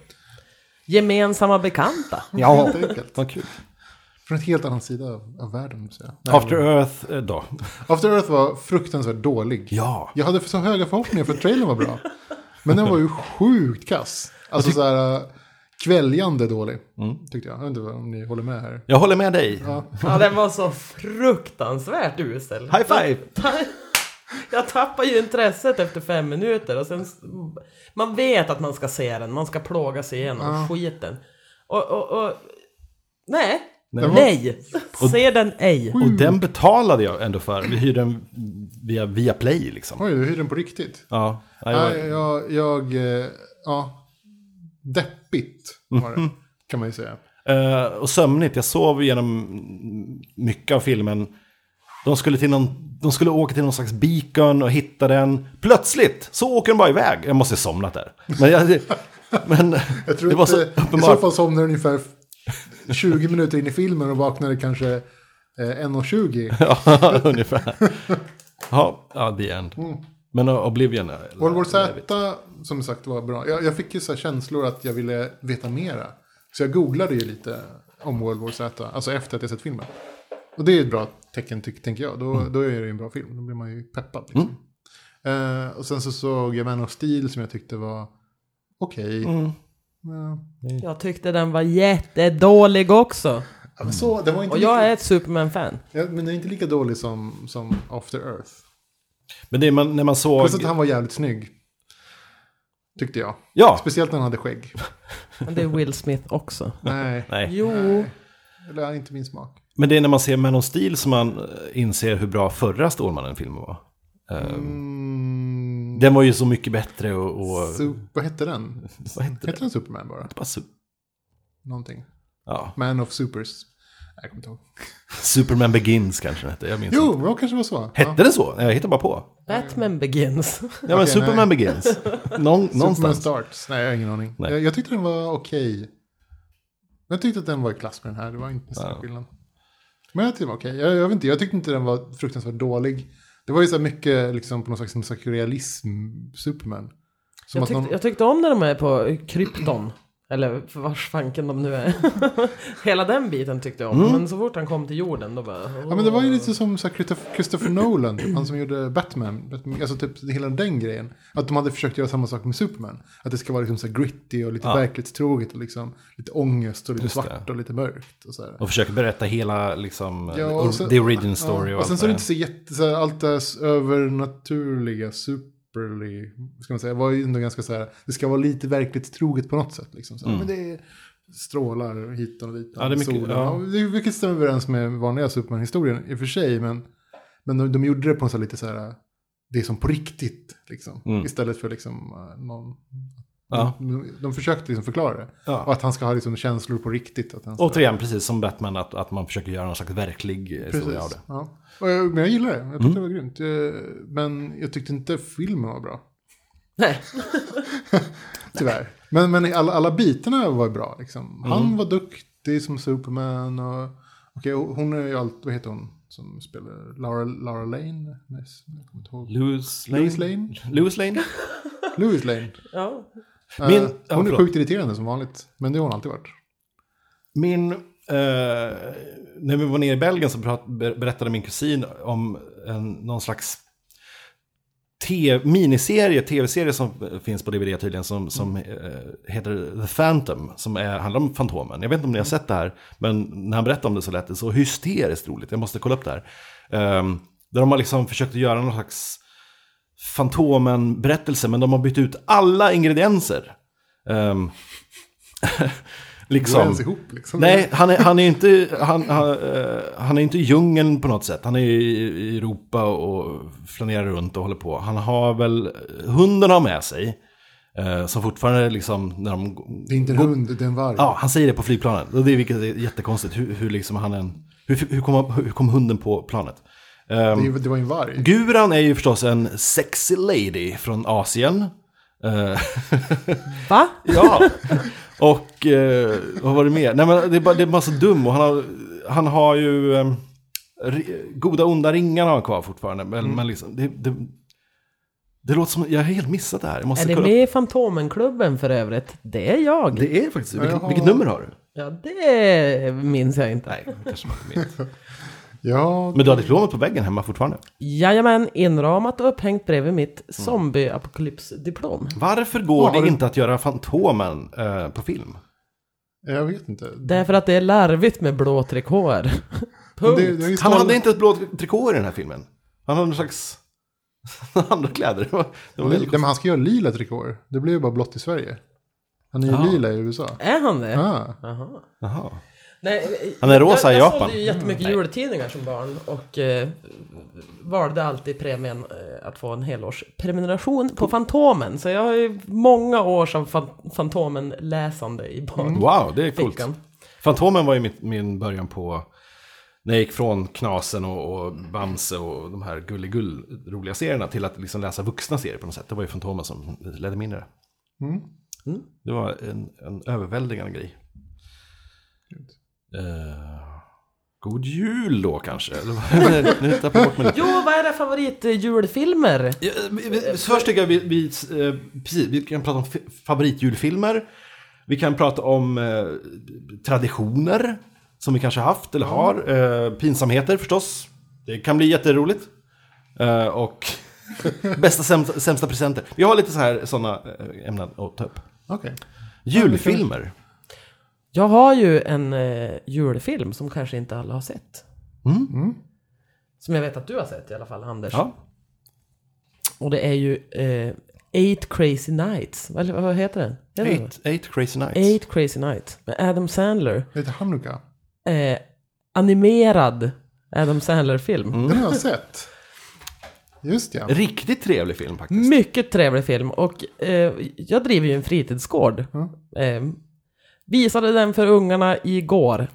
C: Gemensamma bekanta.
A: Ja,
B: Helt enkelt.
A: vad kul.
B: Från en helt annan sida av, av världen. Så jag.
A: After Earth eh, då.
B: After Earth var fruktansvärt dålig.
A: Ja.
B: Jag hade så höga förhoppningar för trailern var bra. Men den var ju sjukt kass. Alltså så här, äh, kväljande dålig.
A: Mm.
B: Tyckte jag. Jag vet inte vad- om ni håller med här.
A: Jag håller med dig.
B: Ja.
C: Ja, den var så fruktansvärt usel.
A: High five!
C: Jag tappar ju intresset efter fem minuter och sen... Man vet att man ska se den, man ska plåga sig igenom
B: Ja.
C: skiten. Och, och, och... Nej!
A: Den
C: Nej!
A: var-
C: Se den ej!
A: Och den betalade jag ändå för. Vi hyrde den via, via Play liksom.
B: Oj, du hyr den på riktigt.
A: Ja, ja, jag,
B: Nej, jag, jag, eh, ja, deppigt var det, kan man ju säga.
A: Eh, och sömnigt, jag sov genom mycket av filmen. De skulle, till någon, de skulle åka till någon slags beacon och hitta den. Plötsligt så åker de bara iväg. Jag måste ha somnat där. Men,
B: (laughs)
A: jag, men
B: Jag tror
A: det var så
B: inte, I så
A: uppenbart.
B: fall somnade du ungefär 20 minuter in i filmen och vaknade kanske eh, 1.20.
A: (laughs) Ja, ungefär. Ja, ja, the end. Men Oblivion. är-
B: Mm. World War Z, som sagt, var bra. Jag, jag fick ju så här känslor att jag ville veta mera. Så jag googlade ju lite om World War Z, alltså efter att jag sett filmen. Och det är ett bra tecken, ty- tänker jag. Då,
C: Mm.
B: då är det ju en bra film. Då blir man ju peppad. Liksom. Eh, och sen så såg jag Man of Steel som jag tyckte var okej.
A: Mm.
B: Ja.
C: Jag tyckte den var jättedålig också.
B: Ja, men så, det var inte
C: Och jag
B: lika,
C: är ett Superman-fan.
B: Ja, men det är inte lika dålig som, som After Earth.
A: Men det man, när man såg...
B: Plus att han var jävligt snygg. Tyckte jag.
A: Ja,
B: Speciellt när han hade
C: (laughs)
B: skägg.
C: Men det är Will Smith också.
B: Nej.
A: nej.
C: Jo.
B: Eller inte min smak.
A: Men det är när man ser Man of Steel som man eh, inser hur bra förra Stålmannen-filmen var. Eh,
B: Mm,
A: Den var ju så mycket bättre och... och
B: Sup- vad hette den?
A: vad hette det?
B: Hette den Superman bara?
A: Bara su-
B: Någonting.
A: Ja.
B: Man of Supers. Nej, Jag kommer inte ihåg.
A: Superman Begins kanske den hette. Jag minns inte.
B: Jo, det kanske var så.
A: Hette
B: ja.
A: den så? Nej, Jag hittar bara på.
C: Batman Begins.
A: Ja, men
B: Okej,
A: Superman Begins. Någon,
B: Superman
A: någonstans.
B: Starts. Nej, jag har ingen aning.
A: Nej.
B: Jag, jag tyckte den var okej. Jag tyckte att den var i klass med den här. Det var inte så stor
A: Ja.
B: skillnad. Men jag tyckte den var okej. Jag, jag vet inte, jag tyckte inte den var fruktansvärt dålig. Det var ju så här mycket liksom på någon slags, någon slags realism, Superman. Som
C: Jag
B: att någon...
C: tyckte, jag tyckte om när de är på krypton. Eller vars fanken de nu är. (laughs) Hela den biten tyckte jag om. Men så fort han kom till jorden då bara...
B: Mm. Ja men det var ju lite som så här Christopher, Christopher Nolan, typ, han som gjorde Batman. Batman, Alltså typ hela den grejen. Att de hade försökt göra samma sak med Superman. Att det ska vara liksom så här gritty och lite
A: Ja.
B: verklighetstroget och liksom lite ångest och lite
A: Just
B: svart
A: det.
B: och lite mörkt. Och så här.
A: Och försöker berätta hela, liksom,
B: Ja,
A: or-
B: och sen-
A: the origin story
B: och,
A: och,
B: sen
A: allt
B: så är
A: det
B: det inte så jätte, så här, allt det här s- övernaturliga, superly, ska man säga, var ju ändå ganska så här, det ska vara lite verklighetstroget på något sätt liksom. Så här, Men det är strålar hit och
A: Mm.
B: dit,
A: Ja, det är mycket-
B: solen.
A: ja.
B: Och det- Vilket stämmer överens med vanliga Superman-historien i och för sig, men, men de, de gjorde det på en så här, lite så här, det är som på riktigt liksom.
A: Mm.
B: Istället för liksom eh, någon,
A: Ja.
B: de, de försökte liksom förklara det.
A: Ja.
B: Och att han ska ha liksom känslor på riktigt. Att han ska,
A: Återigen, precis som Batman, att, att man försöker göra någon slags verklig eh, historia av det.
B: Ja. Och jag- Men jag gillar det. Jag tyckte det var grymt. Eh, Men jag tyckte inte filmen var bra.
C: Nej.
B: Tyvärr. Men, men alla, alla bitarna var bra. Liksom. Han
A: Mm.
B: var duktig som Superman. Och, okej, och hon är ju allt, vad heter hon som spelar? Laura, Laura Lane? Nej, jag kommer inte ihåg.
A: Louis Lane?
B: Louis Lane?
A: Louis Lane?
B: Louis Lane.
C: Ja.
B: Eh,
A: Min- ja,
B: hon är
A: förlåt.
B: sjukt irriterande som vanligt. Men det har hon alltid varit.
A: Min, eh, när vi var nere i Belgien så prat, ber- berättade min kusin om en, någon slags te, miniserie, tv-serie som eh, finns på DVD tydligen, som, som eh, heter The Phantom, som är, handlar om Fantomen. Jag vet inte om ni har sett det här, men när han berättade om det så lät det så hysteriskt roligt. Jag måste kolla upp det här. Ehm, där de har liksom försökt att göra någon slags Fantomen-berättelse, men de har bytt ut alla ingredienser. Ehm, (laughs)
B: Det går
A: liksom.
B: ens ihop liksom.
A: Nej, han är, han är inte han, han, eh, han är inte i djungeln på något sätt. Han är i i Europa och flanerar runt och håller på. Han har väl, hunden har med sig. eh, Som fortfarande liksom, när de...
B: Det är inte en hund, det är en varg.
A: Ja, han säger det på flygplanen. Och det är, vilket är jättekonstigt. Hur, hur liksom han än... Hur, hur, kom, hur kom hunden på planet? Ehm,
B: Det, är- det var ju en varg.
A: Guran är ju förstås en sexy lady från Asien. Eh,
C: Va?
A: Ja, och eh, vad var det mer? Nej men det är bara, det är bara så dum och han har, han har ju eh, ri- goda onda ringar har han kvar fortfarande. Men, men liksom, det, det, det låter som, jag har helt missat det här. Jag måste
C: Är det
A: kolla upp.
C: med i Fantomenklubben för övrigt? Det är jag.
A: Det är faktiskt, vilket,
B: Jaha.
A: vilket nummer har du?
C: Ja, det minns jag inte.
A: Nej, kanske man inte minns.
B: Ja,
A: Men du har diplomet på väggen hemma fortfarande.
C: Jajamän, inramat och upphängt bredvid mitt
B: Mm.
C: zombieapokalypsdiplom.
A: Varför går
B: Ja, har
A: det
B: du-
A: inte att göra Fantomen eh, på film?
B: Jag vet inte.
C: Därför att det är larvigt med blå trikåer.
B: Men
C: Punkt.
B: det- jag har ju
A: Han hade
B: kollat-
A: inte ett blå trikå i den här filmen. Han hade någon slags (laughs) andra kläder. Det var, det var
B: Nej,
A: väldigt
B: men han ska göra lila trikåer. Det blir ju bara blått i Sverige. Han är ju
A: Ja.
B: lila i USA.
C: Är han
A: Eh.
C: det?
B: Ah.
C: Jaha.
A: Jaha.
C: Nej, eh,
A: Han är rosa i
C: jag, Jag
A: Japan. Mm,
C: sålde ju jättemycket jultidningar som barn och eh, valde alltid premien eh, att få en helårsprenumeration på Fantomen. Så jag har ju många års av fan, Fantomen-läsande i bakfickan.
A: Wow, det är Mm, coolt. Fantomen var ju mitt, min början på när jag gick från Knasen och, och Bamse och de här gulligull roliga serierna till att liksom läsa vuxna serier på något sätt. Det var ju Fantomen som ledde min där.
B: Mm.
C: Mm.
A: Det var en, en överväldigande grej. Eh, god jul då kanske? Eller vad- (laughs) nu tappar jag bort mig lite.
C: Jo, vad är era favoritjulfilmer?
A: Ja, eh, vi- vi- Först tycker jag vi, vi, eh, precis, vi kan prata om fi- favoritjulfilmer. Vi kan prata om eh, traditioner som vi kanske haft eller har. Eh, pinsamheter förstås. Det kan bli jätteroligt. Eh, och (laughs) bästa sämsta, sämsta presenter. Vi har lite så här sådana ämnen att ta upp.
B: Okej.
A: Julfilmer.
C: Jag har ju en eh, julfilm som kanske inte alla har sett.
A: Mm.
C: Som jag vet att du har sett i alla fall, Anders.
A: Ja.
C: Och det är ju eh, Eight Crazy Nights. Eller vad heter den? Heter den
A: Eight, eight Crazy Nights.
C: Eight Crazy Nights med Adam Sandler.
B: Det heter Hanuka.
C: Eh, animerad Adam Sandler-film.
A: Mm.
B: Den har jag sett. Just ja.
A: Riktigt trevlig film faktiskt.
C: Mycket trevlig film och eh, jag driver ju en fritidsgård.
B: Mm.
C: Eh, visade den för ungarna igår.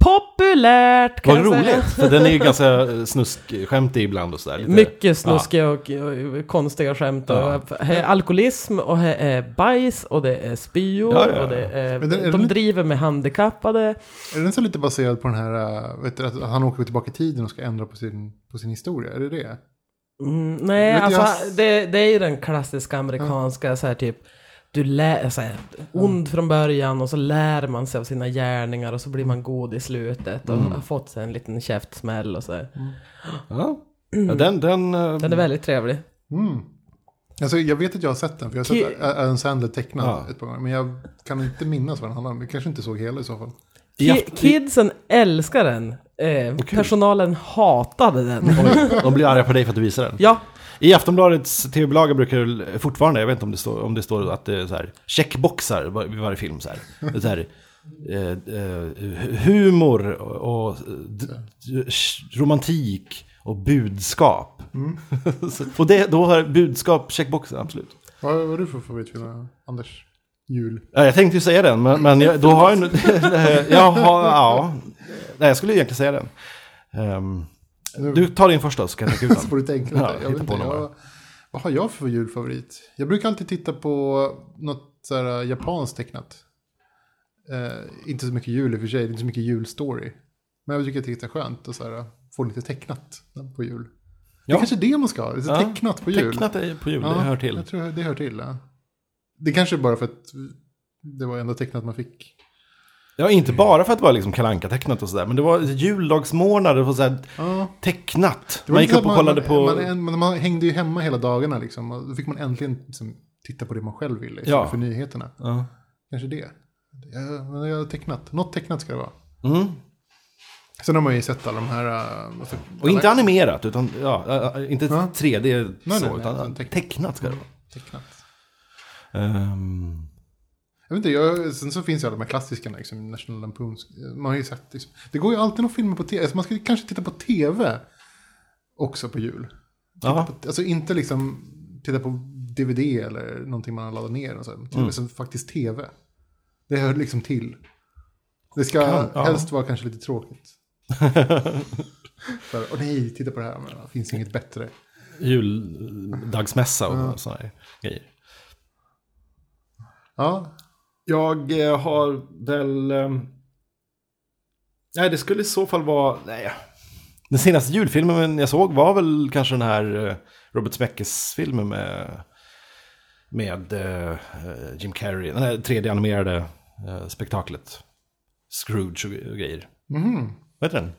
C: Populärt kan
A: Vad
C: jag säga.
A: roligt, för den är ju ganska eh, snuskskämtig ibland och sådär. Lite-
C: Mycket snuskiga och, och konstiga skämt. Och,
A: Ja.
C: Här är alkoholism och här är bajs och det är spyor.
A: Ja, ja, ja.
C: Och det är,
B: Men den- är
C: de
B: den-
C: driver med handikappade.
B: Är den så lite baserad på den här, äh, vet du, att han åker tillbaka i tiden och ska ändra på sin, på sin historia? Är det det?
C: Mm, nej,
B: Vet
C: alltså
B: jag-
C: det, det är ju den klassiska amerikanska så här typ du lär, så här, ond från början och så lär man sig av sina gärningar och så blir man god i slutet och
A: Mm.
C: har fått sig en liten käftsmäll och så här.
A: Ja. Ja, den, den, eh,
C: Den är väldigt trevlig.
B: Mm. Alltså, jag vet att jag har sett den, för jag har sett
C: Ki-
B: Ä- Adam Sandler tecknad
A: Ja.
B: ett par gånger. Men jag kan inte minnas vad den handlar om. Jag kanske inte såg hela i så fall.
A: I
C: Ki-
A: aft-
C: kidsen älskar den. Eh, personalen hatade den.
A: Oj, de blir arga på dig för att du visar den.
C: (laughs) ja,
A: I Aftonbladets tv-bilaga brukar det l- fortfarande, jag vet inte om det står, om det står att det är så här, checkboxar var- vid varje film. Så här. Det är Så här eh, eh, hu- humor och, och d- d- sh- romantik och budskap.
B: Mm.
A: Så- (laughs) och det, då har budskap checkboxen, absolut.
B: Vad vad är du för favoritfilm, Anders? Jul.
A: Ja, Jag tänkte ju säga den, men, men jag, då har jag nu... (laughs) jag har, ja, nej, jag skulle egentligen säga den. Ehm,
B: Nu-
A: du tar din första så kan jag tänka ut
B: Så
A: den.
B: får du tänka
A: Ja,
B: lite.
A: hitta
B: jag vet inte,
A: på någon
B: jag, vad har jag för julfavorit? Jag brukar alltid titta på något så här, japanskt tecknat. Eh, inte så mycket jul i och för sig, det är inte så mycket julstory. Men jag tycker att det är skönt att så här, få lite tecknat på jul. Det
A: Ja.
B: är kanske är det man ska ha, lite
A: Ja,
B: tecknat på jul.
A: Tecknat är på jul,
B: Ja,
A: det hör till.
B: Jag tror det hör till. Ja. Det kanske är bara för att det var enda tecknat man fick.
A: Ja, inte bara för att det var liksom Kalle tecknat och sådär, men det var juldagsmånad, det var så här
B: Ja.
A: tecknat.
B: Det var
A: Man gick
B: lite
A: upp
B: så
A: och
B: att
A: kollade på...
B: Man, man, man, man hängde ju hemma hela dagarna liksom. Och då fick man äntligen liksom, titta på det man själv ville istället
A: Ja.
B: för nyheterna.
A: Ja.
B: Kanske det. Jag, men jag har tecknat. Något tecknat ska det vara.
A: Mm.
B: Sen har man ju sett alla de här... äh, alltså,
A: Och inte
B: alla-
A: animerat, utan ja, äh, äh, inte
B: Ja.
A: 3D
B: Nej,
A: så,
B: nej, nej,
A: utan
B: tecknat.
A: tecknat ska det vara.
B: Tecknat.
A: Ehm,
B: Jag vet inte, jag, sen så finns ju alla de här klassikerna, liksom National Lampoons. Man har ju sett, liksom, det går ju alltid några filmer på tv, alltså man ska ju kanske titta på tv också på jul.
A: ja.
B: Alltså inte liksom titta på DVD eller någonting man har laddat ner. Och så. här.
A: Mm.
B: Titta på som faktiskt tv. Det hör liksom till. Det ska
A: Kan- ja.
B: helst vara kanske lite tråkigt. För, åh nej, titta på det här, men det finns inget bättre.
A: Juldagsmässa och sådana här grejer.
B: Ja,
A: Jag eh, har väl... ehm, Nej, det skulle i så fall vara... Nej. Den senaste julfilmen jag såg var väl kanske den här eh, Robert Zemeckis-filmen med, med eh, eh, Jim Carrey. Den här 3D-animerade eh, spektaklet. Scrooge och grejer.
B: mhm.
A: Vad heter den?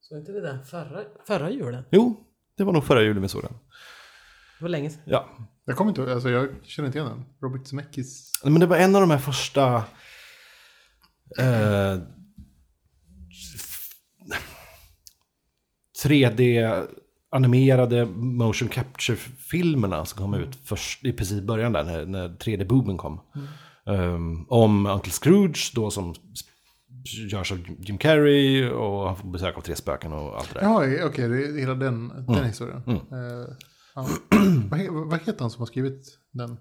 C: såg inte vi den förra, förra julen?
A: Jo, det var nog förra julen vi såg den.
C: Det var länge sedan.
A: Ja,
B: jag kommer inte alltså jag känner inte igen den. Robert Zemeckis.
A: men det var en av de här första... eh, f- 3D-animerade motion capture-filmerna som kom ut först, i precis i början där, när, när 3D-boomen kom. Eh, om Uncle Scrooge då som s- görs av Jim Carrey och han får besök av tre spöken och allt det där.
B: Jaha, okej, det är hela den,
A: Mm.
B: den historien. Eh, ja. (clears throat) vad, he, vad heter han som har skrivit den?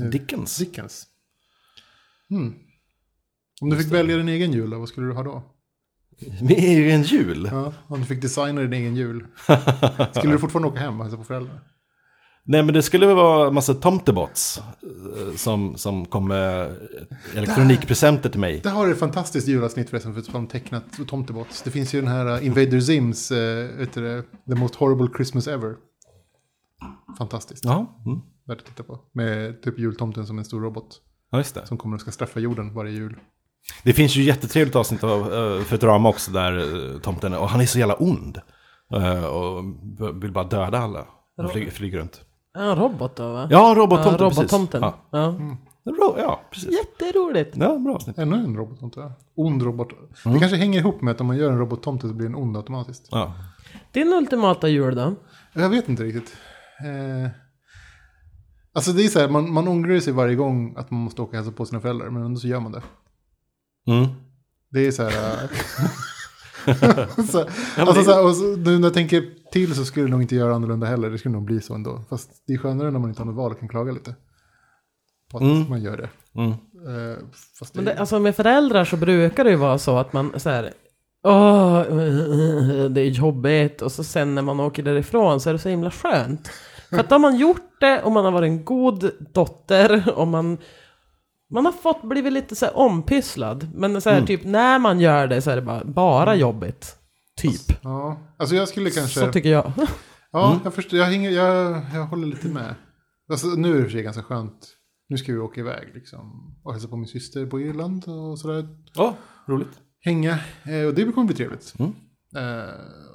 B: nu?
A: Dickens.
B: Dickens. Mm. Om du fick välja din egen jul, då, vad skulle du ha då?
A: Det är ju en jul.
B: Ja, om du fick designa din egen jul. Skulle du fortfarande åka hem och hälsa på föräldrarna?
A: Nej men det skulle väl vara en massa tomtebots eh, som, som kom med elektronikpresenter till mig.
B: Det här är ett fantastiskt julavsnitt förresten för fan tecknat och tomtebots. Det finns ju den här uh, Invader Zims, uh, vet du det, The Most Horrible Christmas Ever. Fantastiskt,
A: Ja, mm.
B: värt att titta på. Med typ jultomten som en stor robot
A: ja just det.
B: som kommer och ska straffa jorden varje jul.
A: Det finns ju jättetrevligt avsnitt av eh, Futurama också där eh, tomten, och han är så jävla ond. Eh, Och b- vill bara döda alla. Han flyger, flyger runt.
C: Ja, en robot då va?
A: Ja, robottomten,
C: Ja,
A: precis.
C: robottomten.
A: Ja. Mm.
C: Ja.
A: Ro- ja, precis.
C: Jätteroligt.
A: Ja, bra avsnitt.
B: Ännu en robottomte, ja. Ond robot. Det kanske hänger ihop med att om man gör en robottomte så blir den ond automatiskt.
A: Ja.
C: Din ultimata jul då?
B: Jag vet inte riktigt. Eh, alltså det är så här, man, man ångrar sig varje gång att man måste åka och hälsa på sina föräldrar, men ändå så gör man det.
A: Mm.
B: Det är så här... äh, (laughs) så,
A: men
B: alltså,
A: det-
B: så här, och så, nu när jag tänker till så skulle jag nog inte göra annorlunda heller. Det skulle nog bli så ändå. Fast det är skönare när man inte har något val och kan klaga lite. På att man gör det.
A: Mm.
B: Eh, fast det,
C: Men det, alltså med föräldrar så brukar det ju vara så att man så här, Åh, det är jobbigt. Och så sen när man åker därifrån så är det så himla skönt. För att då har man gjort det och man har varit en god dotter och man, man har fått blivit lite så här ompysslad. Men så här, typ när man gör det så är det bara, bara jobbigt. Typ.
B: ja. Alltså jag skulle kanske...
C: Så tycker jag.
B: ja, jag, förstår, jag, hänger, jag, jag håller lite med. Alltså, nu är det i och för sig ganska skönt. Nu ska vi åka iväg liksom. Och hälsa på min syster på Irland och sådär.
A: Ja, roligt.
B: hänga. eh, Och det kommer bli trevligt.
A: Mm.
B: Eh,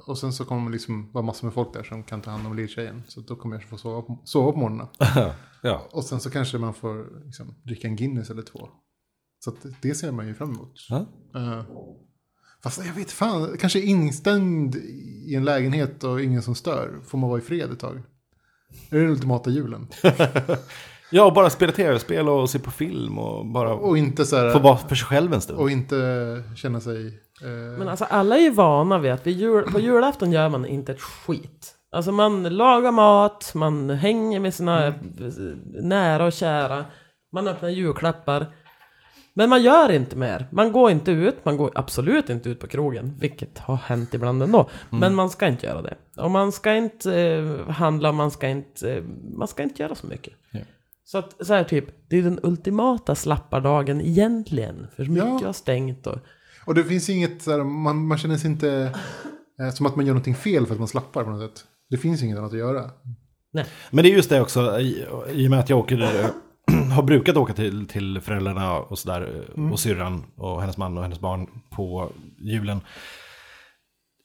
B: och sen så kommer det liksom vara massor med folk där som kan ta hand om lilltjejen. Så då kommer jag få sova på, sova på morgonen.
A: (laughs) ja.
B: Och sen så kanske man får liksom, dricka en Guinness eller två. Så att det ser man ju fram emot.
A: Ja.
B: Eh, fast jag vet fan, kanske instängd i en lägenhet och ingen som stör. Får man vara i fred ett tag. Det är den ultimata julen.
A: ja, och bara spela tv-spel och se på film och bara
B: Och inte så
A: få
B: här,
A: vara för sig själv en stund.
B: och inte känna sig... eh,
C: Men alltså alla är ju vana vid att vid jul, på julafton gör man inte ett skit. Alltså man lagar mat, man hänger med sina eh, nära och kära, man öppnar julklappar. Men man gör inte mer. Man går inte ut, man går absolut inte ut på krogen, vilket har hänt ibland ändå. Men man ska inte göra det. Och man ska inte eh, handla, man ska inte, eh, man ska inte göra så mycket.
A: Ja.
C: Så att så här typ, det är den ultimata slappardagen egentligen. För mycket har stängt och...
B: Och det finns inget, så här, man, man känner sig inte eh, som att man gör någonting fel för att man slappar på något sätt. Det finns inget annat att göra.
C: Nej.
A: Men det är just det också, i, i och med att jag åker, (clears throat) har brukat åka till, till föräldrarna och sådär, eh, och syrran och hennes man och hennes barn på julen.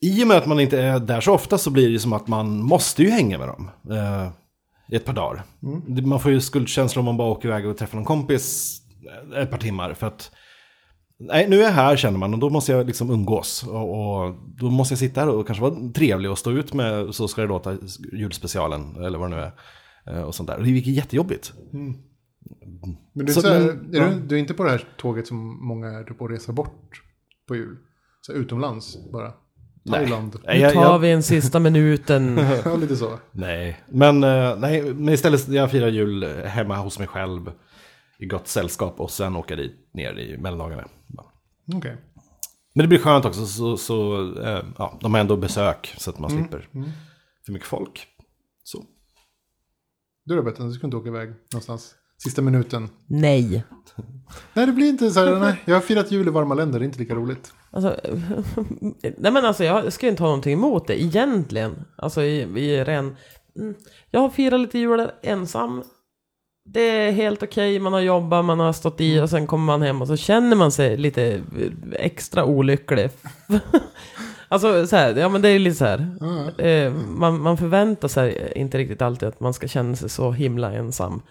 A: I och med att man inte är där så ofta så blir det som att man måste ju hänga med dem eh, i ett par dagar. Det- Man får ju skuldkänslor om man bara åker iväg och träffar någon kompis ett par timmar. För att Nej, nu är jag här känner man och då måste jag liksom umgås. Och, och då måste jag sitta här och kanske vara trevlig och stå ut med Så ska det låta, julspecialen eller vad det nu är. eh, Och sånt där. Och det gick jättejobbigt.
B: Men du är,
A: Så-
B: så här,
A: men-
B: är,
A: ja.
B: du, du är inte på det här tåget som många är typ och reser bort på jul. Så här, utomlands bara. Thailand.
A: Nej,
B: (laughs)
C: Nu
A: Eh, jag,
C: tar
A: jag,
C: vi en sista minuten.
A: (laughs)
B: Ja, lite så.
A: nej. Men, eh, nej, men istället jag firar jul hemma hos mig själv. I gott sällskap och sen åka dit ner i mellandagarna.
B: Okej.
A: Men det blir skönt också, så, så eh, ja, de har ändå besök så att man
C: Mm.
B: Mm.
A: slipper för mycket folk. Så.
B: Du då Bettan, du ska inte åka iväg någonstans. Sista minuten.
C: Nej.
B: Nej, det blir inte
A: (laughs)
B: så här. Nej. Jag har firat jul i varma länder, det är inte lika roligt.
C: Alltså, nej men alltså jag ska ju inte ha någonting emot det egentligen. Alltså i, i ren... Mm. Jag har firat lite jular ensam. Det är helt okej, man har jobbat, man har stått i och sen kommer man hem och så känner man sig lite eh, extra olycklig. (laughs) alltså så här, ja men det är lite så här.
B: Ja,
C: Eh, man, man förväntar sig inte riktigt alltid att man ska känna sig så himla ensam.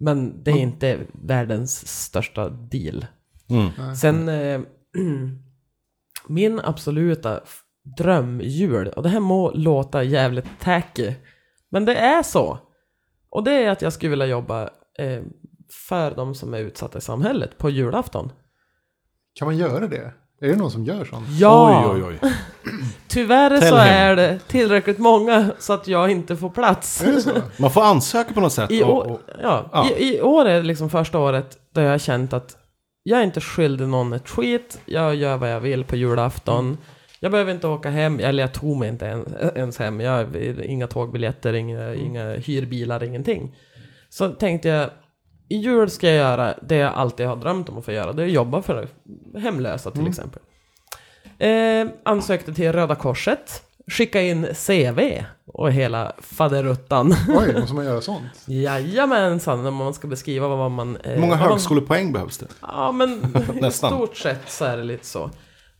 C: Men det är inte världens största deal.
A: Mm.
C: Sen, eh, (clears throat) min absoluta f- drömjul, och det här må låta jävligt tacky, men det är så. Och det är att jag skulle vilja jobba eh, för de som är utsatta i samhället på julafton.
B: Kan man göra det? Är det någon som gör sånt?
C: Ja!
A: Oj, oj, oj.
C: Tyvärr
A: Tell
C: så
A: him.
C: är det tillräckligt många så att jag inte
A: (laughs)
C: får plats.
B: Är det så?
A: Man får ansöka på något sätt.
C: I
A: och-
C: år,
A: och-
C: ja,
A: ja.
C: I, I år är det liksom första året där jag har känt att jag är inte skyldig någon ett skit, jag gör vad jag vill på julafton. Jag behöver inte åka hem, eller jag tog mig inte en, ens hem. Jag, inga tågbiljetter, inga,
A: Mm.
C: inga hyrbilar, ingenting. Så tänkte jag, i jul ska jag göra det jag alltid har drömt om att få göra. Det är att jobba för hemlösa
A: Mm.
C: till exempel. Eh, ansökte till Röda Korset, skicka in CV och hela faderuttan.
B: Oj, måste man göra sånt?
C: Jajamensan, när man ska beskriva vad man... eh,
A: Hur många
C: vad man-
A: högskolepoäng behövs det? (laughs)
C: Ja, men i
A: Nästan.
C: stort sett så är det lite så.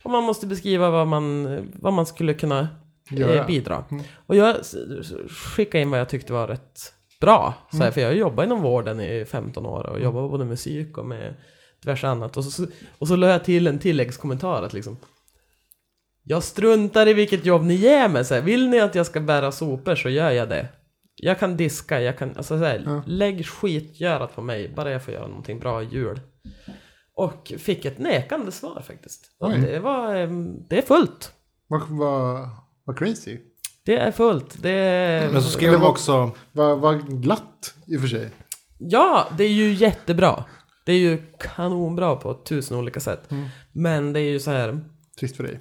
C: Och man måste beskriva vad man, vad man skulle kunna eh,
B: Göra. Mm.
C: bidra. Och jag s- s- skickade in vad jag tyckte var rätt bra. Så
B: Mm.
C: här, För jag har jobbat inom vården i 15 år och jobbat både med musik och med diverse annat. Och så, och så la jag till en tilläggskommentar att liksom jag struntar i vilket jobb ni ger mig. Så här, vill ni att jag ska bära sopor så gör jag det. Jag kan diska, jag kan, alltså så här, lägg skitgörat på mig, bara jag får göra någonting bra i jul. Och fick ett nekande svar faktiskt. Och
B: Oj.
C: Det, var, ehm, det är fullt.
B: Vad vad- vad crazy.
C: Det är fullt. Det är...
A: Men så skrev de också...
B: Vad vad glatt i och för sig.
C: Ja, det är ju jättebra. Det är ju kanonbra på tusen olika sätt. Men det är ju så här,
B: Trist för dig.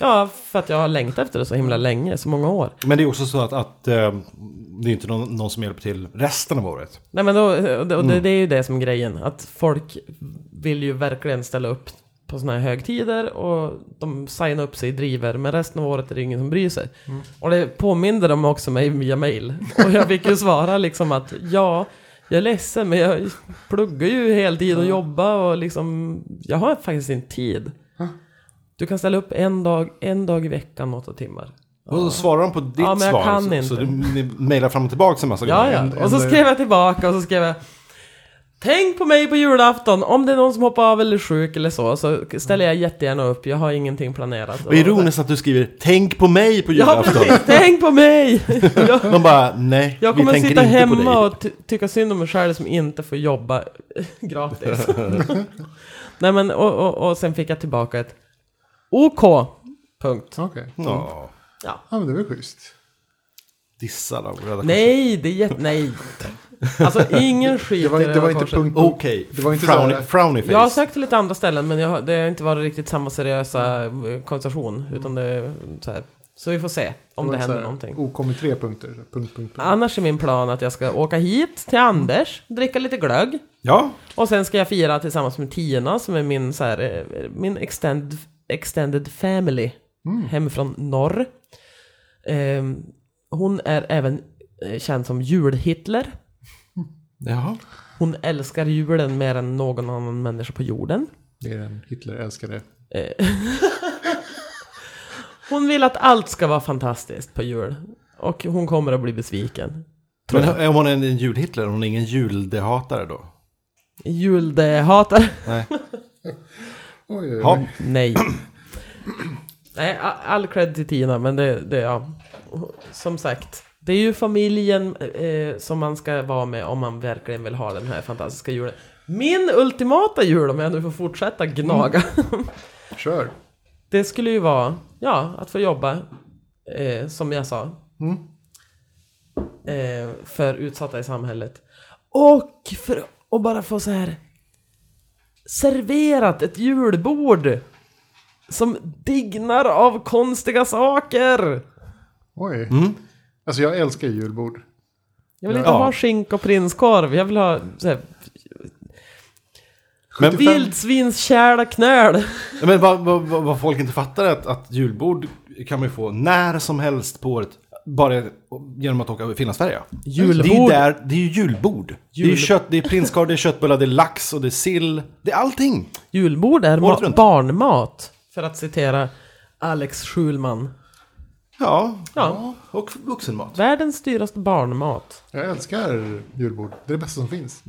C: ja, för att jag har längtat efter det så himla länge, så många år.
A: Men det är också så att, att eh, det är inte någon, någon som hjälper till resten av året.
C: Nej men då, och det, och det, det är ju det som är grejen, att folk vill ju verkligen ställa upp på såna här högtider och de signar upp sig i driver, men resten av året är det ingen som bryr sig. Och det påminde de också mig via mail. Och jag fick ju svara liksom att ja, jag är ledsen men jag pluggar ju heltid och jobbar och liksom, jag har faktiskt inte tid. Du kan ställa upp en dag, en dag i veckan, åtta timmar.
A: Och så svarar de på ditt
C: Ja, men jag
A: svar.
C: kan
A: så,
C: inte.
A: så du ni mejlar fram och tillbaka en massa
C: Ja,
A: gånger.
C: ja. Och så
B: eller-
C: skrev jag tillbaka och så skrev jag Tänk på mig på julafton, om det är någon som hoppar av eller är sjuk eller så, så ställer jag jättegärna upp, jag har ingenting planerat.
A: Och ironiskt att du skriver “Tänk på mig på
C: Ja,
A: julafton”.
C: precis, tänk på mig! (laughs) Jag,
A: Man bara “Nej,
C: jag
A: vi
C: kommer
A: tänker
C: sitta
A: inte på dig”.
C: hemma och ty- tycka synd om mig själv som inte får jobba (laughs)
B: (laughs)
C: gratis. Nej men, och, och, och sen fick jag tillbaka ett OK, punkt.
B: Okej.
A: Mm. Ja,
C: Ja.
B: Ja, men det var schysst.
A: dissar av Röda Korset.
C: Nej, det är jätte... Nej. Alltså ingen
B: (laughs)
C: skit
B: Det var,
C: i
B: det var inte
C: Röda Korset.
B: punkt...
A: Okej,
B: Det var inte
A: frowny,
B: så här-
A: frowny face.
C: Jag har sökt till lite andra ställen men jag, har- det har inte varit riktigt samma seriösa eh, konversation. Utan det är så här. Så vi får se om det,
B: Mm. var så
C: händer
B: här,
C: någonting.
B: O kommer tre punkter. Punkt, punkt, punkt.
C: Annars är min plan att jag ska åka hit till Anders, dricka lite glögg.
A: Ja,
C: Och sen ska jag fira tillsammans med Tina som är min, så här, eh, min extended, extended family
B: Mm.
C: hemifrån norr. Ehm, hon är även eh, känd som jul-Hitler.
A: jaha.
C: Hon älskar julen mer än någon annan människa på jorden.
B: Det är en Hitler älskade.
C: Hon vill att allt ska vara fantastiskt på jul. Och hon kommer att bli besviken.
A: Men om hon är en julhitler, hon är ingen juldehatare då?
C: Juldehatar?
B: (laughs)
A: Nej.
B: Oj, oj,
A: Ja.
B: oj.
C: Nej. Nej, a- all cred till Tina, men det, det, ja. Som sagt, det är ju familjen eh, som man ska vara med om man verkligen vill ha den här fantastiska julen. Min ultimata jul, om jag nu får fortsätta gnaga.
B: Kör.
C: Det skulle ju vara, ja, att få jobba, eh, som jag sa.
A: Mm.
C: Eh, för utsatta i samhället. Och för att bara få så här serverat ett julbord som dignar av konstiga saker.
B: Oj.
C: Mm.
B: Alltså jag älskar ju julbord.
C: Jag vill inte
A: Ja.
C: ha skinka och prinskorv, jag vill ha så här,
A: Men,
B: 75.
C: vildsvinskärda knöl.
A: men vad, vad, vad vad folk inte fattar är att, att julbord kan man ju få när som helst på året. Bara genom att åka över Finlandsfärja. Det är, ju
C: Julbord.
A: där, det är ju julbord. Det är ju
C: Jul-
A: kött, det är prinskorv, det är köttbullar, det är lax och det är sill. Det är allting.
C: Julbord är
A: Året
C: ma-
A: runt.
C: barnmat, för att citera Alex Schulman.
A: Ja,
C: Ja.
A: och vuxenmat.
C: Världens dyraste barnmat. Mm.
B: Jag älskar julbord. Det är det bästa som finns.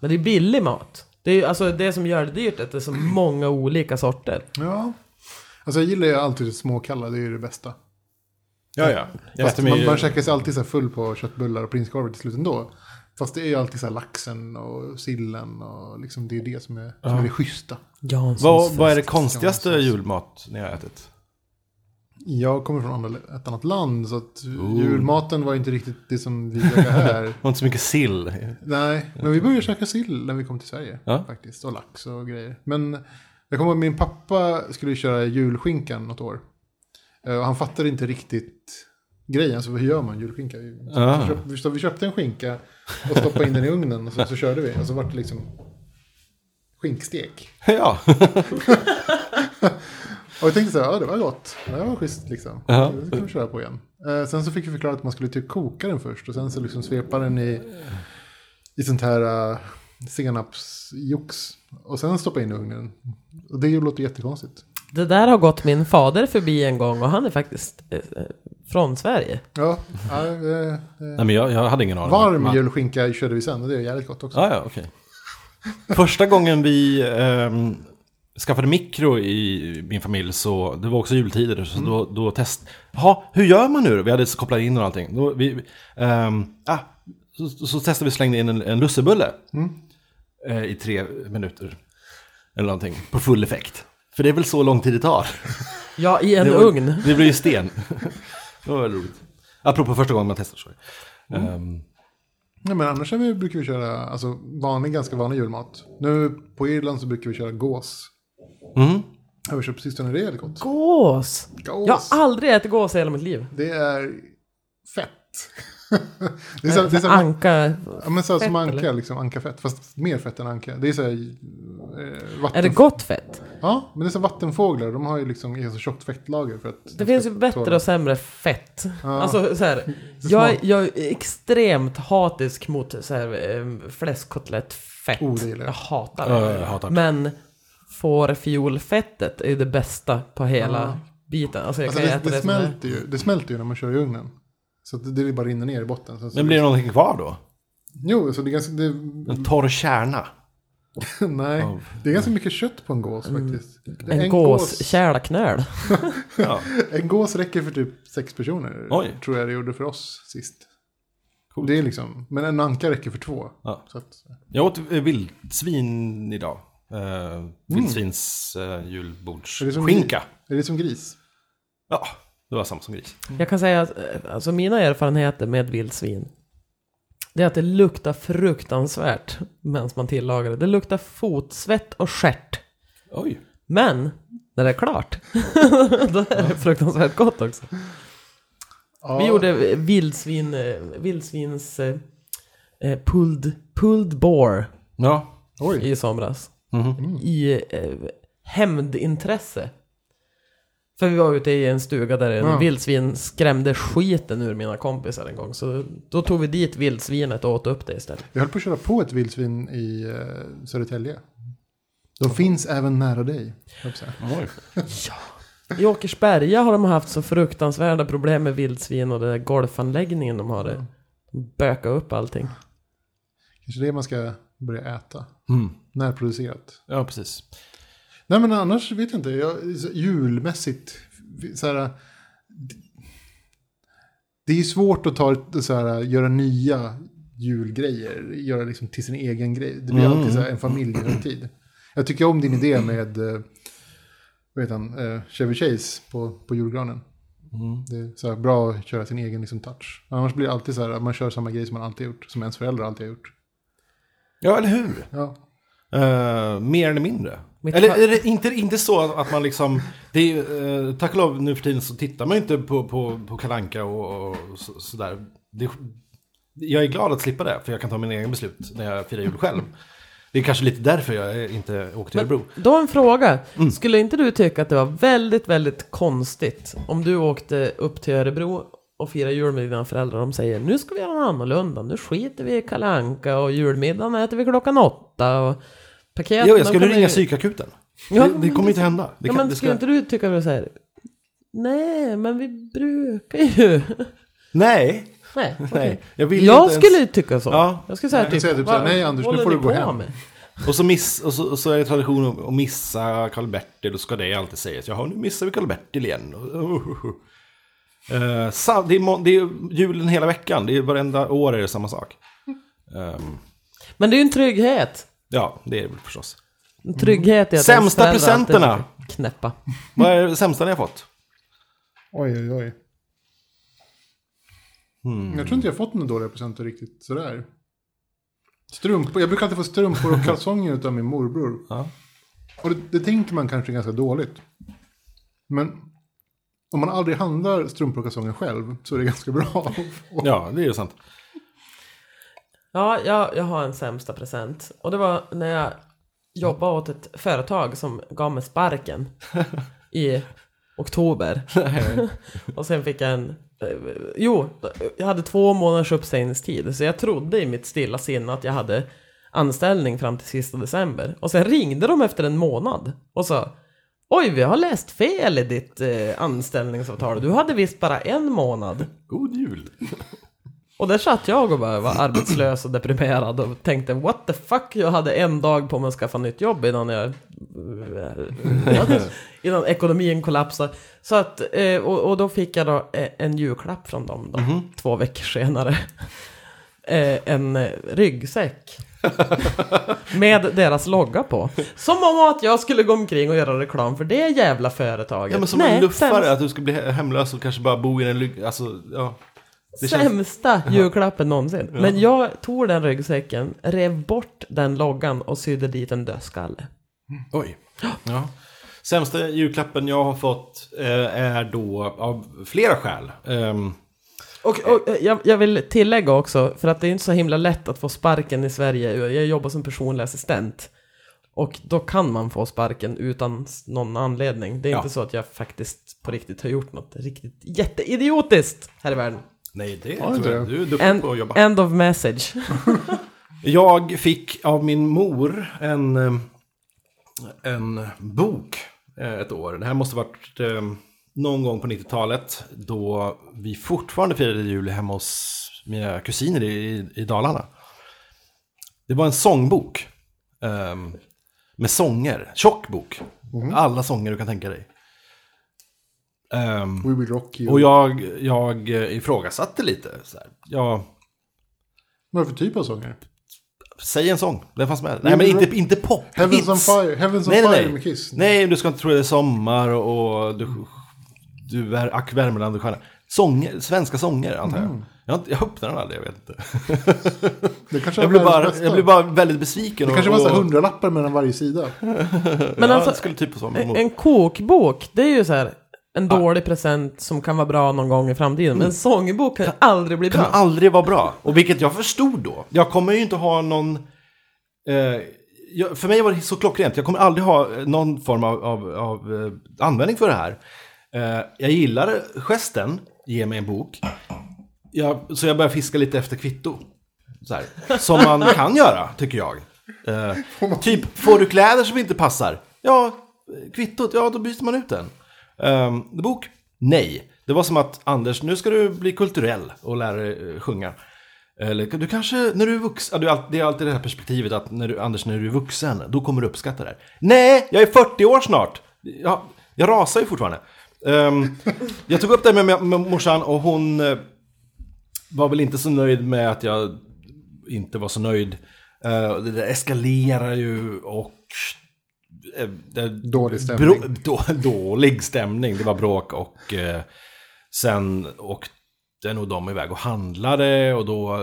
C: Men det är billig mat. Det är ju alltså det som gör det dyrt, att det är så många olika sorter.
B: Ja. Alltså jag gillar ju alltid småkalla, det är ju det bästa.
A: Ja, ja. Jag
B: Fast
A: äter mig
B: man,
A: ju-
B: man käkar sig alltid så här full på köttbullar och prinskorvar till slut ändå. Fast det är ju alltid så här laxen och sillen och liksom det är det som är, som är det schyssta.
A: vad, vad är det konstigaste
B: Janssons.
A: julmat ni har ätit?
B: Jag kommer från andra, ett annat land så att julmaten var inte riktigt det som vi käkar här.
A: Det var inte så mycket sill.
B: Nej, men vi började käka sill när vi kom till Sverige
A: Ja.
B: faktiskt. Och lax och grejer. Men jag kommer ihåg min pappa skulle köra julskinkan något år. Eh, Och han fattade inte riktigt grejen. Så hur gör man julskinka? Vi- så
A: Ah.
B: Vi, köpte, så vi köpte en skinka och stoppade in den i ugnen och så, så körde vi. Och så vart det liksom skinkstek.
A: ja.
B: Och jag tänkte så här, ja det var gott. Det här var schysst liksom.
A: Ja.
B: Det kan vi köra på igen. Eh, sen så fick vi förklara att man skulle typ koka den först och sen så liksom svepa den i, i sånt här uh, senapsjox. Och sen stoppa in i ugnen. Och det låter jättekonstigt.
C: Det där har gått min fader förbi en gång och han är faktiskt eh, eh, från Sverige.
B: Ja, ja, eh, eh.
A: Nej, men jag, jag hade ingen aning.
B: varm
A: Man-
B: julskinka körde vi sen och det är jävligt gott också.
A: Ah, Ja, ja, okej. Första gången vi ehm, skaffade mikro i min familj så, det var också jultider, så då, då test... Jaha, hur gör man nu då? Vi hade kopplat in och allting. Då, vi, ehm, ah, så, så testade vi och slängde in en, en lussebulle eh, i tre minuter. Eller någonting, på full effekt. För det är väl så lång tid det tar.
C: Ja, i en
A: Det var-
C: ugn.
A: Det blir ju sten. det var väldigt roligt. Apropå första gången man testar, sorry. Ehm,
B: Nej, men annars är vi, brukar vi köra alltså, vanlig, ganska vanlig julmat. Nu på Irland så brukar vi köra gås.
A: mm.
B: Har vi köpt på sistone, det är jävligt gott.
C: Gås!
B: Gås.
C: Jag har aldrig ätit gås i hela mitt liv.
B: Det är fett. (laughs) det är så, det är så,
C: Anka.
B: ja, men så här som
C: fett,
B: anka,
C: eller?
B: liksom, ankafett. Fast mer fett än anka. Det är så här, eh, vatten...
C: Är det gott fett?
B: Ja, men det är så här vattenfåglar. De har ju liksom ganska tjockt fettlager för att...
C: Det finns ju bättre och sämre fett. Alltså så här, jag, jag är extremt hatisk mot så här, eh, fläskkotlettfett.
B: Oh, det gillar jag.
C: jag hatar
A: Ja,
C: det.
A: jag hatar det.
C: Men fårfjolfettet är ju det bästa på hela biten. Alltså jag
B: Alltså,
C: kan
B: det,
C: äta
B: det,
C: det, som är.
B: smälter ju, det smälter ju när man kör i ugnen. Så att det, det bara rinner ner i botten. Sen så,
A: Men blir det någonting kvar då?
B: Jo, så det är ganska... Det, (laughs)
A: En torr kärna?
B: nej, det är ganska mycket kött på en gås faktiskt.
C: Mm. En, gås, kärlknöl.
B: Mm.
A: Ja.
B: En gås räcker för typ sex personer.
A: Oj.
B: Tror jag det gjorde för oss sist.
A: Coolt.
B: Det är liksom, men en anka räcker för två.
A: Ja.
B: Så att,
A: Jag åt eh, vildsvin idag. Eh, vildsvins eh,
B: Är det som
A: julbordsskinka.
B: är det som gris?
A: Ja, det var samma som gris.
C: Jag kan säga att eh, alltså mina erfarenheter med vildsvin det är att det luktar fruktansvärt medan man tillagar det. Det luktar fotsvett och stjärt.
A: Oj.
C: Men när det är klart, (laughs) då är det fruktansvärt gott också.
B: Ja,
C: Vi gjorde eh, vildsvin, eh, vildsvins eh, eh, pulled, pulled boar
A: Ja.
B: Oj,
C: i somras.
A: Mhm.
B: Mm.
C: I eh, hämndintresse. För vi var ute i en stuga där en
B: Ja.
C: vildsvin skrämde skiten ur mina kompisar en gång. Så då tog vi dit vildsvinet och åt upp det istället.
B: jag höll på att köra på ett vildsvin i eh, Södertälje. De finns även nära dig. höll jag på att säga.
A: Oj.
C: I Åkersberga har de haft så fruktansvärda problem med vildsvin och den där golfanläggningen de har. Det. De bökar upp allting.
B: Kanske det man ska börja äta.
A: Mm.
B: Närproducerat.
A: Ja, precis.
B: Nej men annars vet jag inte. Jag, så- julmässigt. Så här, det- det är ju svårt att ta, ett- så här, göra nya julgrejer. Göra liksom till sin egen grej. Det blir
A: Mm.
B: alltid så här, en familjehögtid. Jag tycker om din idé med eh, vad heter han, eh, Chevy Chase på, på julgranen. Det är så här, bra att köra sin egen liksom, touch. Annars blir det alltid så här att man kör samma grej som man alltid gjort. Som ens föräldrar alltid har gjort.
A: Ja, eller hur?
B: Ja,
A: Eh, mer eller mindre.
C: Mitt
A: eller
C: fa-
A: är det inte, inte så att man liksom... Det är, ju, eh, tack och lov nu för tiden så tittar man ju inte på, på, på Kalanka och, och så, sådär. Det, jag är glad att slippa det, för jag kan ta mina egna beslut när jag firar jul själv. Det är kanske lite därför jag inte åker till Örebro.
C: Då en fråga. Skulle inte du tycka att det var väldigt, väldigt konstigt om du åkte upp till Örebro och firade jul med dina föräldrar och de säger nu ska vi göra något annorlunda, nu skiter vi i Kalle Anka och julmiddagen äter vi klockan åtta och paketen...
A: Jo, jag skulle
C: de kommer-
A: ringa psykakuten.
C: Ja,
A: det, det kommer inte hända. Det
C: Ja,
A: kan,
C: men
A: det ska...
C: skulle inte du tycka det var så här? Nej, men vi brukar ju... (laughs)
A: Nej.
C: Nej, okej.
A: Nej, jag vill
C: jag
A: inte ens-
C: skulle tycka så.
A: Ja.
C: Jag skulle säga
B: Jag kan säga typ så här,
C: "Vad
B: nej, Anders, nu
C: håller
B: får
C: ni
B: du gå
C: på
B: hem."
C: med?"
A: Och så, miss, och så, och så är det tradition att- att missa Karl-Bertil och ska det alltid sägas. Jaha, nu missar vi Karl-Bertil igen. Och- och- och- och. Eh, sa- det, är, må- det är julen hela veckan, det är varenda år är det samma sak. Ehm,
C: Men det är ju en trygghet.
A: ja, det är det väl förstås.
C: En trygghet i att
A: Sämsta
C: ens föräldrar alltid
A: presenterna.
C: försöker Knäppa.
A: Vad är det sämsta ni har fått?
B: Oj, oj, oj.
A: Hmm.
B: Jag tror inte jag fått några dåliga presenter riktigt sådär. Strumpor. Jag brukar alltid få strumpor och kalsonger av min morbror.
A: Ja.
B: Och det, det tänker man kanske är ganska dåligt. Men om man aldrig handlar strumpor och kalsonger själv så är det ganska bra. Och
A: Ja, det är ju sant.
C: Ja, jag, jag har en sämsta present. Och det var när jag jobbade åt ett företag som gav mig sparken i oktober. (laughs) och sen fick jag en... eh, Jo, jag hade två månaders uppsägningstid. Så jag trodde i mitt stilla sinne att jag hade anställning fram till sista december. Och sen ringde de efter en månad och sa Oj, vi har läst fel i ditt eh, anställningsavtal. Du hade visst bara en månad.
A: God jul.
C: Och där satt jag och bara var arbetslös och deprimerad och tänkte what the fuck, jag hade en dag på mig att skaffa nytt jobb innan jag... eh,
A: (laughs)
C: innan ekonomin kollapsade. Så att, eh, och, och då fick jag då eh, en julklapp från dem då,
A: Mhm.
C: två veckor senare. Eh, En eh, ryggsäck. Med deras logga på. Som om att jag skulle gå omkring och göra reklam för det jävla företaget.
A: Ja, men som
C: Nej,
A: en luffare,
C: sämst.
A: att du ska bli hemlös och kanske bara bo i en lyg... Alltså, ja. Det känns-
C: Sämsta julklappen någonsin. Men jag tog den ryggsäcken, rev bort den loggan och sydde dit en dödskalle.
A: Oj. Ja. Sämsta julklappen jag har fått eh, är då av flera skäl. Ehm,
C: Och, och eh, jag, jag vill tillägga också, för att det är inte så himla lätt att få sparken i Sverige. Jag jobbar som personlig assistent. Och då kan man få sparken utan s- någon anledning. Det är
A: Ja.
C: inte så att jag faktiskt på riktigt har gjort något riktigt jätteidiotiskt här i världen.
A: nej, det
B: Ja,
A: tror jag.
B: det.
A: Du är duktig
C: End,
A: på att jobba.
C: end of message.
A: Jag fick av min mor en, eh, en bok eh, ett år. Det här måste varit eh, någon gång på 90-talet då vi fortfarande firade jul hemma hos mina kusiner i, i Dalarna. Det var en sångbok eh, med sånger, tjock bok.
B: Mm.
A: Alla sånger du kan tänka dig. Ehm,
B: We will rock you.
A: och jag, jag eh, ifrågasatte lite. Så här. Jag,
B: Vad är det för typ av sånger?
A: Säg en sång, den fanns med. Nej men inte, inte pop,
B: Heavens on
A: hits.
B: fire, Heavens on
A: Nej,
B: fire
A: nej,
B: med
A: nej.
B: Kiss.
A: nej, du ska inte tro det är sommar och och du, du är ack Värmland och stjärna. Sånger, svenska sånger antar jag.
B: Mm.
A: Jag, har inte- jag öppnar den aldrig, jag vet inte.
B: Det kanske
A: Jag
B: var
A: blev
B: världens
A: bara,
B: bästa.
A: jag blev bara väldigt besviken.
B: Det
A: och-
B: kanske var så här
A: och-
B: hundralappar mellan varje sida.
C: Men
A: ja,
C: alltså-
A: det skulle typ vara så.
C: En kokbok, det är ju så här en
A: Ah.
C: dålig present som kan vara bra någon gång i framtiden. Men en sångbok kan aldrig bli
A: Mm. kan
C: bra.
A: aldrig vara bra. Och vilket jag förstod då. Jag kommer ju inte ha någon... Eh, jag, för mig var det så klockrent. Jag kommer aldrig ha eh, någon form av, av, av eh, användning för det här. Eh, jag gillar gesten, ge mig en bok. Jag, så jag börjar fiska lite efter kvitto. Så här, som man kan göra, tycker jag. Eh, typ, får du kläder som inte passar? Ja, kvittot, ja då byter man ut den. Eh, bok? Nej. Det var som att Anders, nu ska du bli kulturell och lära dig eh, sjunga. Eller du kanske, när du är vuxen, ja, du, det är alltid det här perspektivet att när du, Anders, när du är vuxen, då kommer du uppskatta det här. Nej, jag är 40 år snart! Jag, jag rasar ju fortfarande. Ehm, jag tog upp det här med, med morsan och hon eh, var väl inte så nöjd med att jag inte var så nöjd. Eh, det där eskalerar ju och... eh, det-
B: Dålig stämning.
A: Brå- (laughs) då, dålig stämning, det var bråk och eh, sen åkte nog de iväg och handlade och då eh,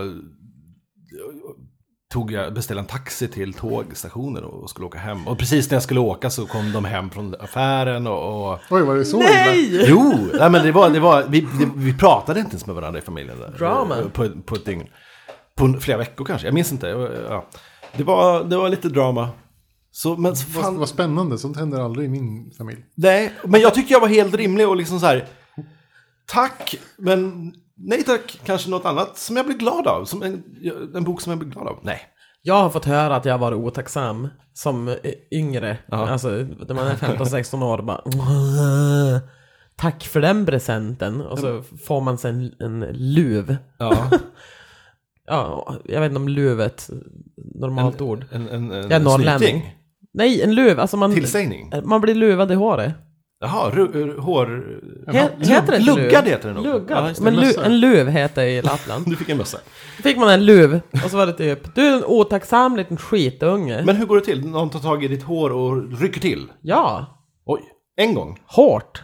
A: tog jag, beställde en taxi till tågstationen och skulle åka hem. Och precis när jag skulle åka så kom de hem från affären och... och
B: Oj, var det så illa?
C: (laughs) Nej!
A: Jo, nej, men det var, det var, vi, det, vi pratade inte ens med varandra i familjen. Där,
C: Drama.
A: På, på ett dygn. På en- flera veckor kanske, jag minns inte. Jag var- Ja. Det, var, det var lite drama. Så, men så
B: Vad,
A: fan,
B: vad spännande, sånt händer aldrig i min familj.
A: Nej, men jag tyckte jag var helt rimlig och liksom så här. Tack, men nej tack. Kanske något annat som jag blir glad av. Som en, en bok som jag blir glad av. Nej.
C: Jag har fått höra att jag har varit otacksam som eh, yngre. Alltså när man är
A: (laughs)
C: 15-16 år bara Tack
A: Mm. (laughs)
C: för den presenten. Och så får man sig en, en luv.
A: Ja.
C: ja, jag vet inte om luvet, normalt ord.
A: En, en, en,
C: Jag är
A: en
C: norrlänning.
A: snyting.
C: Nej, en luv, alltså man...
A: Tillsägning.
C: Man blir luvad i håret.
A: Jaha, ru, ur- hår...
B: Ja,
C: He-
B: lugg-
C: heter det inte luv?
A: Luggad heter det nog. Ja,
C: Luggad.
A: just det.
C: Men lu,
B: mössa.
C: en luv heter det i Lappland.
A: Du fick en mössa.
C: Då fick man en luv, och så var det typ Du är en otacksam liten skitunge.
A: Men hur går det till? Någon tar tag i ditt hår och rycker till?
C: Ja,
A: Oj. En gång?
C: hårt.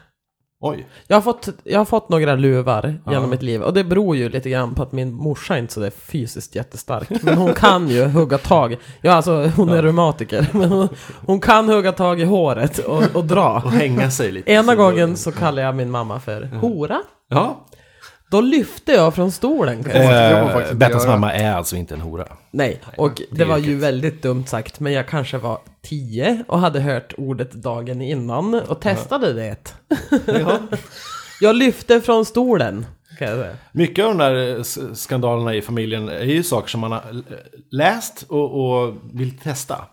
A: Oj.
C: Jag har, fått, jag har fått några luvar genom mitt liv och det beror ju lite grann på att min morsa är inte så där fysiskt jättestark. Men hon kan ju (laughs) hugga tag. Ja, alltså hon är reumatiker. Men hon, hon kan hugga tag i håret och, och dra. (laughs)
A: Och hänga sig lite.
C: Ena gången så kallade jag min mamma för hora.
A: Ja.
C: Då lyfte jag från stolen. kan jag säga.
B: jag får faktiskt
A: Eh,
B: inte
A: Bettas
B: göra.
A: mamma är alltså inte en hora.
C: Nej, och det var ju väldigt dumt sagt. Men jag kanske var tio och hade hört ordet dagen innan och testade (laughs) det. Jag lyfte från stolen. Kan jag säga.
A: Mycket av de där eh, s- skandalerna i familjen är ju saker som man har eh, läst och, och vill testa.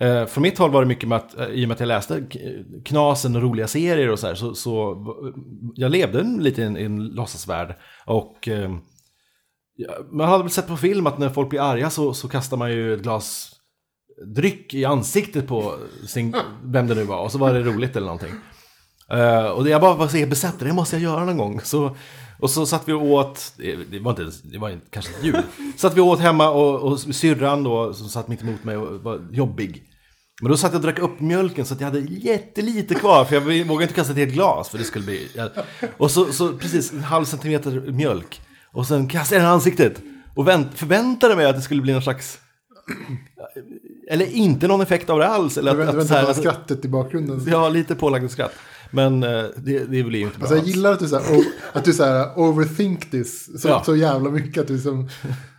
A: Eh, från mitt håll var det mycket med att, eh, i och med att jag läste k- Knasen och roliga serier och så här, så, så v- jag levde en, lite i en, i en låtsasvärld. Och eh, ja, man hade väl sett på film att när folk blir arga så, så kastar man ju ett glas dryck i ansiktet på sin, vem det nu var, och så var det roligt eller någonting. Eh, och det jag bara var så besatt, det måste jag göra någon gång. Så, och så satt vi och åt, det det var inte, ens- det var inte, kanske ett jul, satt vi och åt hemma och, och syrran då som satt mitt emot mig och var jobbig. Men då satt jag och drack upp mjölken så att jag hade jättelite kvar för jag vågade inte kasta ett helt glas för det skulle bli... jag- Och så, så precis en halv centimeter mjölk och sen kastade jag den i ansiktet och vänt, förväntade mig att det skulle bli någon slags... Eller inte någon effekt av det alls. Eller att,
B: Jag väntar-
A: att, så här,
B: väntar på
A: att,
B: skrattet i bakgrunden.
A: Ja, lite pålagt skratt. Men eh, det, det blir ju inte bra.
B: Alltså jag gillar att du så här, o- att du så här overthink this så,
A: Ja.
B: så jävla mycket. Att du liksom,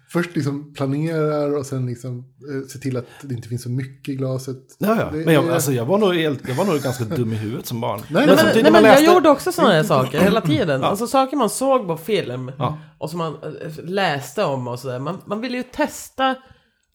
B: först liksom planerar och sen liksom eh, ser till att det inte finns så mycket i glaset.
A: Ja, ja.
B: Det
A: Men jag,
B: är-
A: alltså, jag, var nog helt, jag var nog ganska dum i huvudet som barn.
B: Nej,
C: Nej,
B: men-
A: samtidigt
C: men,
A: när
C: nej,
A: man
C: men
A: läste-
C: jag gjorde också sådana här saker hela tiden. Alltså saker man såg på film
A: Ja.
C: och som man eh, läste om och sådär. Man, man ville ju testa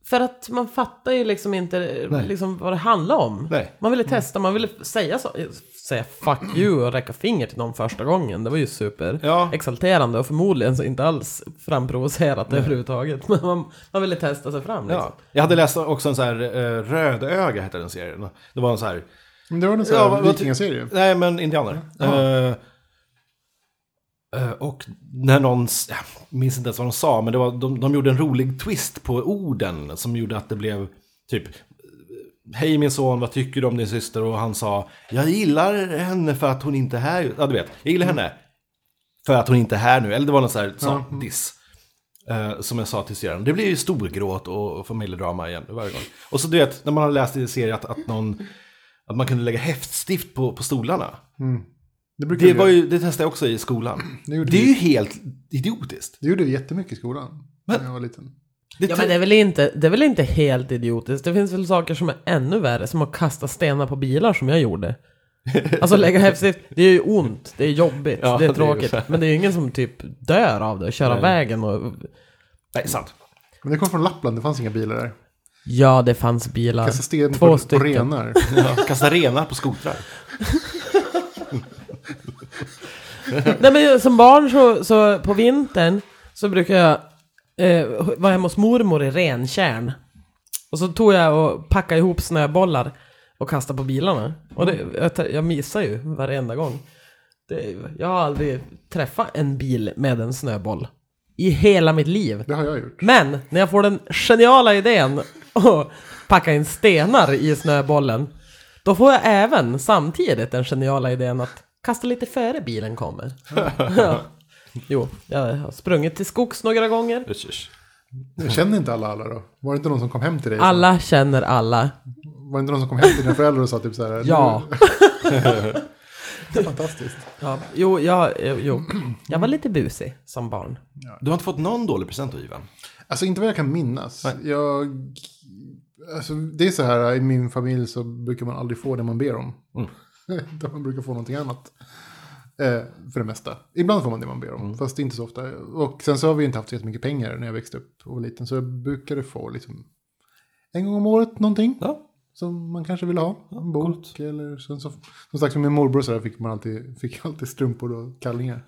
C: för att man fattar ju liksom inte eh,
A: Nej.
C: liksom vad det handlar om.
A: Nej.
C: Man ville testa, man ville säga så, eh, säga fuck you och räcka finger till någon första gången. Det var ju super
A: Ja.
C: exalterande och förmodligen så inte alls framprovocerat överhuvudtaget. (laughs) Men man, man ville testa sig fram liksom.
A: Ja. Jag hade läst också en så här eh, Rödöga hette den serien. Det var en så här...
B: Men det var någon sån
A: Ja,
B: här
A: vad- vad-
B: vikingaserie.
A: Nej, men indianer. Eh, eh, och när någon, s- jag minns inte ens vad de sa, men det var, de, de gjorde en rolig twist på orden som gjorde att det blev typ Hej min son, vad tycker du om din syster? Och han sa Jag gillar henne för att hon inte är här. ju." Ja, du vet. Jag gillar henne för att hon inte är här nu. Eller det var någon sån här sa, diss. Eh, som jag sa till syrran, det blir ju storgråt och familjedrama igen varje gång. Och så du vet, när man har läst i serien att, att någon att man kunde lägga häftstift på, på stolarna.
B: Det, brukade
A: Det,
B: vi
A: var
B: göra.
A: ju, det testade jag också i skolan.
B: Det gjorde
A: Det är
B: vi.
A: ju helt idiotiskt.
B: det gjorde vi jättemycket i skolan när jag var liten.
A: Det,
C: Ja men det är, väl inte, det är väl inte helt idiotiskt? Det finns väl saker som är ännu värre, som att kasta stenar på bilar som jag gjorde. Alltså lägga häftstift, det är ju ont, det är jobbigt,
A: Ja,
C: det
A: det är
C: är tråkigt.
A: ju-
C: men det är ju ingen som typ dör av det, köra
A: Nej.
C: vägen och...
A: Nej, sant. (laughs)
B: Men det kom från Lappland, det fanns inga bilar där.
C: Ja, det fanns bilar.
B: Kasta sten
C: Två
B: på, på
C: stycken.
B: renar.
A: Ja, Kasta renar på skotrar.
C: (laughs) Nej men som barn så, så på vintern så brukar jag eh, vara hemma hos mormor i Rentjärn. Och så tog jag och packade ihop snöbollar och kastade på bilarna. Och det, jag, t- jag missar ju varenda gång. Det, jag har aldrig träffat en bil med en snöboll. I hela mitt liv.
B: Det har jag gjort.
C: Men när jag får den geniala idén att packa in stenar i snöbollen. Då får jag även samtidigt den geniala idén att kasta lite före bilen kommer. Ja. Jo, jag har sprungit till skogs några gånger.
A: Usch, usch.
B: Jag känner inte alla alla då? Var det inte någon som kom hem till dig?
C: Alla känner alla.
B: Var det inte någon som kom hem till dina föräldrar och sa typ så här?
C: Ja.
B: Det är fantastiskt.
C: ja. Jo, jag, jo, jag var lite busig som barn.
A: Du har inte fått någon dålig present av Ivan?
B: Alltså inte vad jag kan minnas. Jag, alltså, det är så här, i min familj så brukar man aldrig få det man ber om.
A: Mm.
B: (laughs) Utan man brukar få någonting annat. Eh, för det mesta. Ibland får man det man ber om,
A: Mm.
B: fast inte så ofta. Och sen så har vi inte haft så jättemycket pengar när jag växte upp och var liten. Så jag brukade få liksom en gång om året någonting.
A: Ja.
B: som man kanske ville ha. En bok eller sen så, som sagt som min morbror så där fick man alltid, fick alltid strumpor
A: (laughs)
B: och kallingar.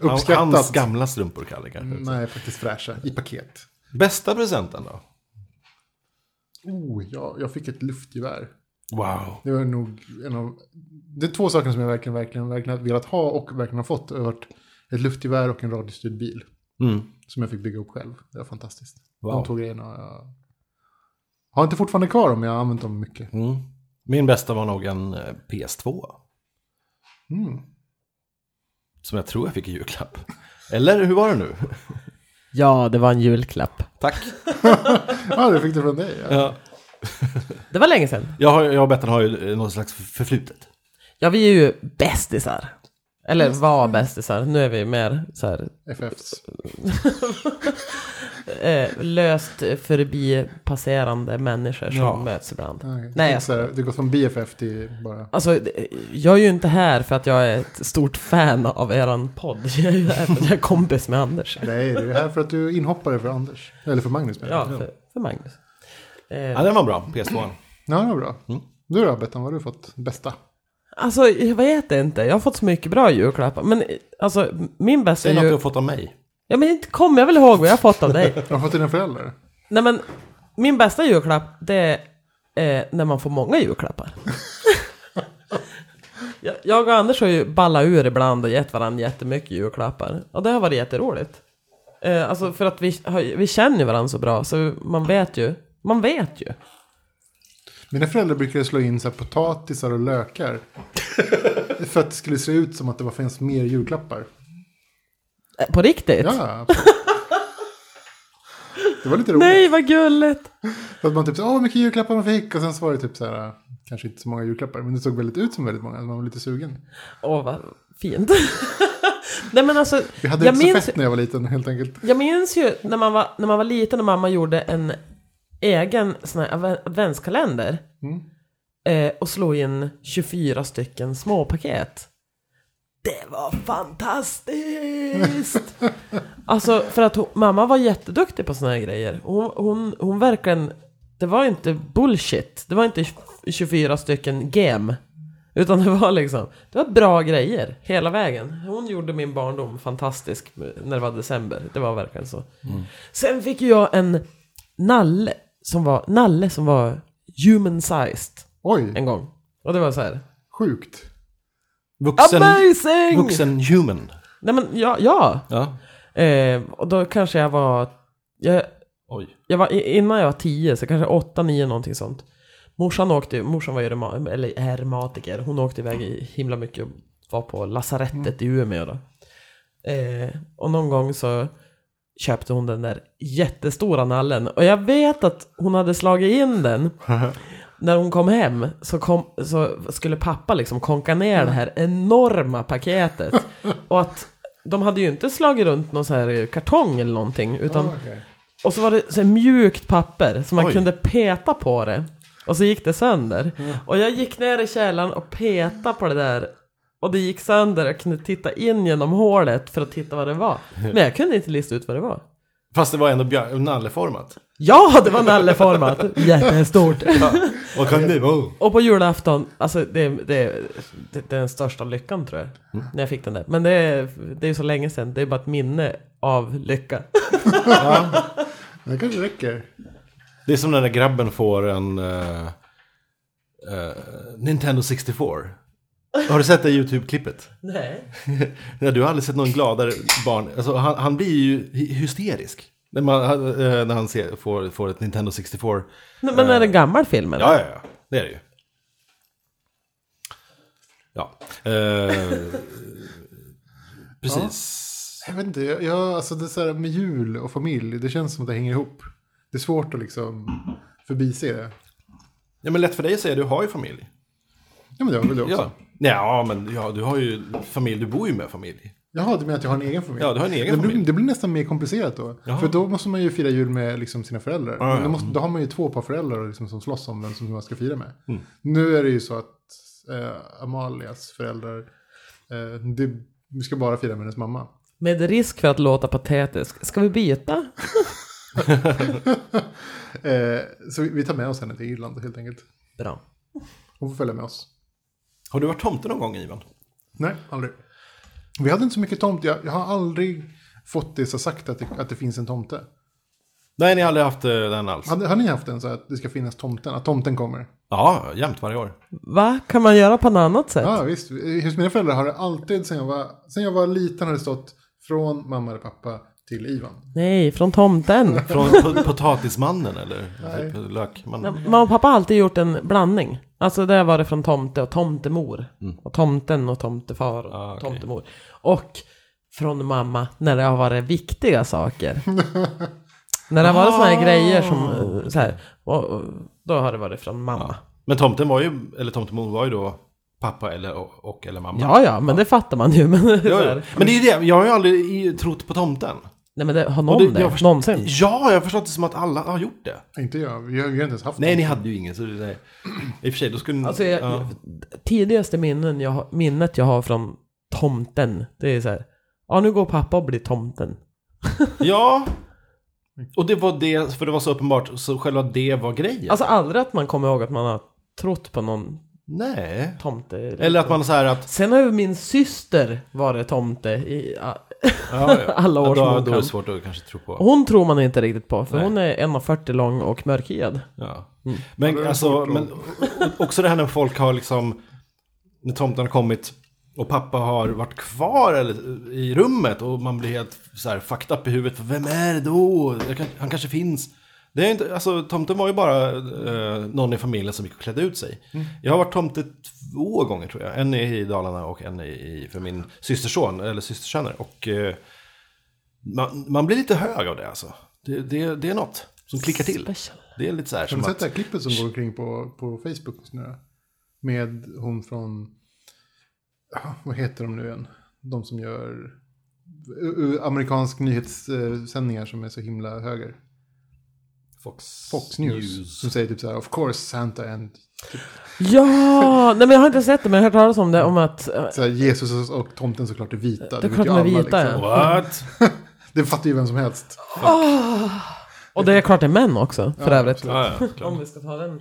A: Hans
B: Uppskattat. Mm.
A: gamla strumpor kallar kanske.
B: Nej, faktiskt fräscha i paket.
A: Bästa presenten då?
B: Oh, ja, jag fick ett luftgevär.
A: Wow.
B: Det var nog en av... Det är två saker som jag verkligen, verkligen, verkligen har velat ha och verkligen har fått. Det har varit ett luftgevär och en radiostyrd bil.
A: Mm.
B: Som jag fick bygga upp själv. Det var fantastiskt.
A: Wow.
B: De två grejerna har jag... Har inte fortfarande kvar dem, men jag har använt dem mycket. (laughs)
A: Mm. Min bästa var nog en eh, PS2.
B: Mm.
A: Som jag tror jag fick i julklapp. Eller hur var det nu?
C: Ja, det var en julklapp.
A: Tack.
B: Ja, det fick du från dig. Ja.
A: Ja.
C: Det var länge sedan.
A: Jag, har, jag och Bettan har ju eh, något slags förflutet.
C: Ja, vi är ju bästisar. Eller var bästisar. Nu är vi mer så här
B: FFs.
C: eh, löst förbi passerande människor som
A: Ja.
C: möts ibland.
B: Ah, okej.
C: Nej,
B: Det är så här, det går från BFF till bara...
C: Alltså, jag är ju inte här för att jag är ett stort fan av eran podd. Jag är ju här för att jag är kompis med Anders.
B: Nej, du är här för att du är inhoppare för Anders. Eller för Magnus menar
C: Ja,
B: jag.
C: för, för Magnus.
A: Ja,
C: Eh,
A: den var bra, PS2.
B: Ja, det var bra.
A: Mm.
B: Du då, Bettan, vad har du fått bästa?
C: alltså, jag vet inte. Jag har fått så mycket bra julklappar. Men eh, alltså, min bästa
A: Säg något du har
C: jul...
A: fått av mig.
C: Ja, men inte kommer jag väl ihåg vad jag har fått av dig.
B: Har du fått dina föräldrar?
C: Nej, men min bästa julklapp, det är eh, när man får många julklappar. Jag- jag och Anders har ju ballat ur ibland och gett varandra jättemycket julklappar. Och det har varit jätteroligt. Eh, alltså för att vi, har, ju- vi känner ju varandra så bra, så man vet ju. Man vet ju.
B: Mina föräldrar brukade slå in så här potatisar och
C: (laughs)
B: lökar. för att det skulle se ut som att det var fanns mer julklappar.
C: Eh, på riktigt. (laughs)
B: Ja. det var lite roligt.
C: Nej, vad gulligt!
B: För att man typ så, åh vad mycket julklappar man fick. Och sen så var det typ så här, kanske inte så många julklappar. Men det såg väldigt ut som väldigt många. Man var lite sugen.
C: Åh, vad fint. (laughs) Nej, men alltså,
B: Jag hade
C: jag
B: inte
C: minns
B: så fett när jag var liten helt enkelt.
C: Jag minns ju när man var, när man var liten och mamma gjorde en egen sån här adve- adventskalender. Eh, och slog in 24 stycken små paket. Det var fantastiskt! alltså för att hon, mamma var jätteduktig på såna här grejer. Hon, hon, hon verkligen, det var inte bullshit. Det var inte 24 stycken game. Utan det var liksom, det var bra grejer hela vägen. Hon gjorde min barndom fantastisk när det var december. Det var verkligen så.
A: Mm.
C: Sen fick ju jag en nalle som var, nalle som var human sized
B: Oj,
C: en gång. Och det var så här.
B: sjukt.
A: Vuxen,
C: Amazing!
A: vuxen human.
C: Nej men ja, ja.
A: Ja.
C: Eh, och då kanske jag var, jag,
A: Oj.
C: jag var, i- innan jag var tio, så kanske åtta, nio någonting sånt. Morsan åkte, ju- morsan var ju reuma, eller är reumatiker, hon åkte iväg i himla mycket och var på lasarettet i Umeå då. Eh, och någon gång så köpte hon den där jättestora nallen och jag vet att hon hade slagit in den. När hon kom hem så, kom, så skulle pappa liksom konka ner det här enorma paketet. Och att de hade ju inte slagit runt någon så här kartong eller någonting utan
B: Ah, okej.
C: och så var det så här mjukt papper så man
A: Oj.
C: kunde peta på det. Och så gick det sönder. Och jag gick ner i källaren och petade på det där. Och det gick sönder. Jag kunde titta in genom hålet för att titta vad det var. Men jag kunde inte lista ut vad det var.
A: Fast det var ändå björ- nalleformat.
C: Ja, det
A: (laughs)
C: var nalleformat! Jättestort!
A: Vad kan det vara?
C: Och på julafton, alltså det, det, det, det är den största lyckan tror
A: Mm.
C: jag. När jag fick den där. Men det, är- det är ju så länge sedan. Det är bara ett minne av lycka.
B: Det kanske räcker.
A: Det är som när den där grabben får en eh, eh, Nintendo 64. Har du sett det YouTube-klippet?
C: Nej.
A: Nej, du har aldrig sett någon gladare barn. Alltså, han, han blir ju hy- hysterisk. När, man, han, eh, när han ser, får, får ett Nintendo 64.
C: Nej, Men är det en gammal film eller?
A: Ja, ja, ja. Det är det ju. Ja. Eh, precis.
B: Jag vet inte, jag, jag, alltså det är så här med jul och familj, det känns som att det hänger ihop. Det är svårt att liksom förbise det.
A: Ja, men lätt för dig att säga, du har ju familj.
B: Ja, men det har väl du också.
A: Ja. Ja, men ja, du har ju familj, du bor ju med familj.
B: Jaha, du menar att jag har en egen familj?
A: Ja, du har en egen
B: det
A: familj.
B: Blir, det blir nästan mer komplicerat då.
A: Jaha. Ah,
B: För då måste man ju fira jul med liksom sina föräldrar.
A: ja.
B: Men Då, måste, då har man ju två par föräldrar liksom som slåss om vem som man ska fira med.
A: Mm.
B: Nu är det ju så att eh, Amalias föräldrar, eh, det, vi ska bara fira med hennes mamma.
C: Med risk för att låta patetisk, ska vi byta?
B: Eh, så vi, vi tar med oss henne till Irland helt enkelt.
C: Bra.
B: Hon får följa med oss.
A: Har du varit tomte någon gång Ivan?
B: Nej, aldrig. Vi hade inte så mycket tomt. Jag, jag har aldrig fått det så sagt att det, att det finns en tomte.
A: Nej, ni har aldrig haft eh, den alls?
B: Hade, har ni haft en så här att det ska finnas tomten? Att tomten kommer?
A: Ja, jämt varje år.
C: Va? Kan man göra på något annat sätt?
B: Ja, visst. Hos mina föräldrar har det alltid, sen jag var, sen jag var liten, har det stått från mamma eller pappa till Ivan.
C: Nej, från tomten.
A: Från po- potatismannen eller
B: Nej.
A: typ lökmannen?
C: Mamma och pappa har alltid gjort en blandning. Alltså där var det från tomte och tomtemor. Och tomten och tomtefar och
A: Ah, okej.
C: tomtemor. Och från mamma när det har varit
A: (laughs)
C: viktiga saker. när det har varit såna
A: Ah.
C: här grejer som eh, så här, och, och, då har det varit från mamma.
A: Men tomten var ju, eller tomtemor var ju då pappa eller, och eller mamma.
C: Ja, ja, men det fattar man ju. Men, så
A: Ja,
C: här,
A: ja. Men det är ju det, jag har ju aldrig i- trott på tomten.
C: Nej, men det, har
A: Och
C: någon det,
A: jag först-
C: någonsin?
A: Ja, jag har förstått det som att alla har gjort det.
B: Inte jag. Vi har, vi har inte ens haft
A: Nej,
B: tomten.
A: ni hade ju ingen. Så det, nej. I och för sig, då skulle ni...
C: Alltså, jag,
A: ja.
C: tidigaste minnen jag, har- minnet jag har från tomten, det är så här. Ja, nu går pappa och blir tomten.
A: ja. Och det var det, för det var så uppenbart, så själva det var grejen.
C: Alltså aldrig att man kommer ihåg att man har trott på någon
A: nej.
C: tomte.
A: Eller att man så här att...
C: Sen har ju min syster varit tomte i... ja,
A: Ja, ja.
C: (laughs) Alla år
A: då,
C: som
A: Då är
C: hon
A: det
C: kan.
A: svårt att kanske tro på.
C: Hon tror man inte riktigt på, för
A: Nej.
C: hon är 1,40 lång och mörkhyad.
A: Ja.
C: Mm.
A: Men
B: Ja, det är
A: alltså,
B: svårt att-
A: men också det här när folk har liksom, när tomten har kommit och pappa har varit kvar eller, i rummet och man blir helt så här fucked up i huvudet. För vem är det då? Jag kan, han kanske finns. Det är inte, alltså, tomten var ju bara eh, någon i familjen som gick och klädde ut sig. Jag har varit tomte två gånger tror jag. En i Dalarna och en i, för min systerson, eller systersöner. Och eh, man, man blir lite hög av det alltså. Det, det, det är något som klickar till.
C: Special.
A: Det är lite så här
B: Har
A: som
B: ni
A: att...
B: sett det här klippet som går omkring på, på Facebook just nu? Med hon från... ah, Vad heter de nu igen? De som gör u- u- amerikansk nyhetssändningar som är så himla höger.
A: Fox,
B: Fox News. Som säger typ så här, of course Santa and...
C: Ja! Nej men jag har inte sett det, men jag har hört talas om det, om att... eh,
B: Så här, Jesus och tomten såklart är vita.
C: klart de är vita,
B: Mm. (laughs)
C: ja.
A: What?
B: liksom. Det fattar ju vem som helst.
C: Och det är klart det är män också, för
B: Ja,
C: övrigt.
B: absolut.
A: ja, ja, klart.
C: Om vi ska ta den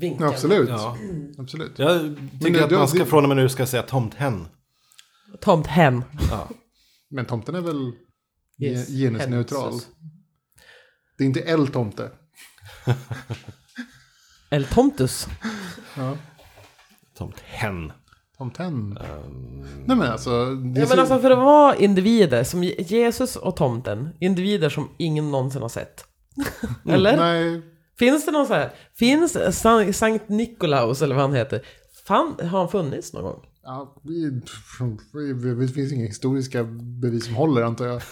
C: vinkeln.
B: Ja, absolut.
A: Ja.
B: absolut.
A: Jag
B: Men
A: tycker
B: det-
A: att man ska
B: det-
A: från och med nu ska säga tomthen.
C: Tomt hen.
A: Ja.
B: Men tomten är väl ge-
C: Yes.
B: genusneutral?
C: Hensus.
B: Det är inte L-tomte.
C: Eller tomtus.
B: Ja.
A: Tomthen.
B: Tomten.
A: Ehm.
B: Nej men alltså. Det
C: Ja,
B: är
C: men
B: så-
C: alltså för att vara individer, som Je- Jesus och tomten, individer som ingen någonsin har sett. Eller?
B: Mm. Nej,
C: Finns det någon så här, finns San- Sankt Nikolaus eller vad han heter, fan, har han funnits någon gång?
B: ja, vi- pff, det finns inga historiska bevis som håller antar jag.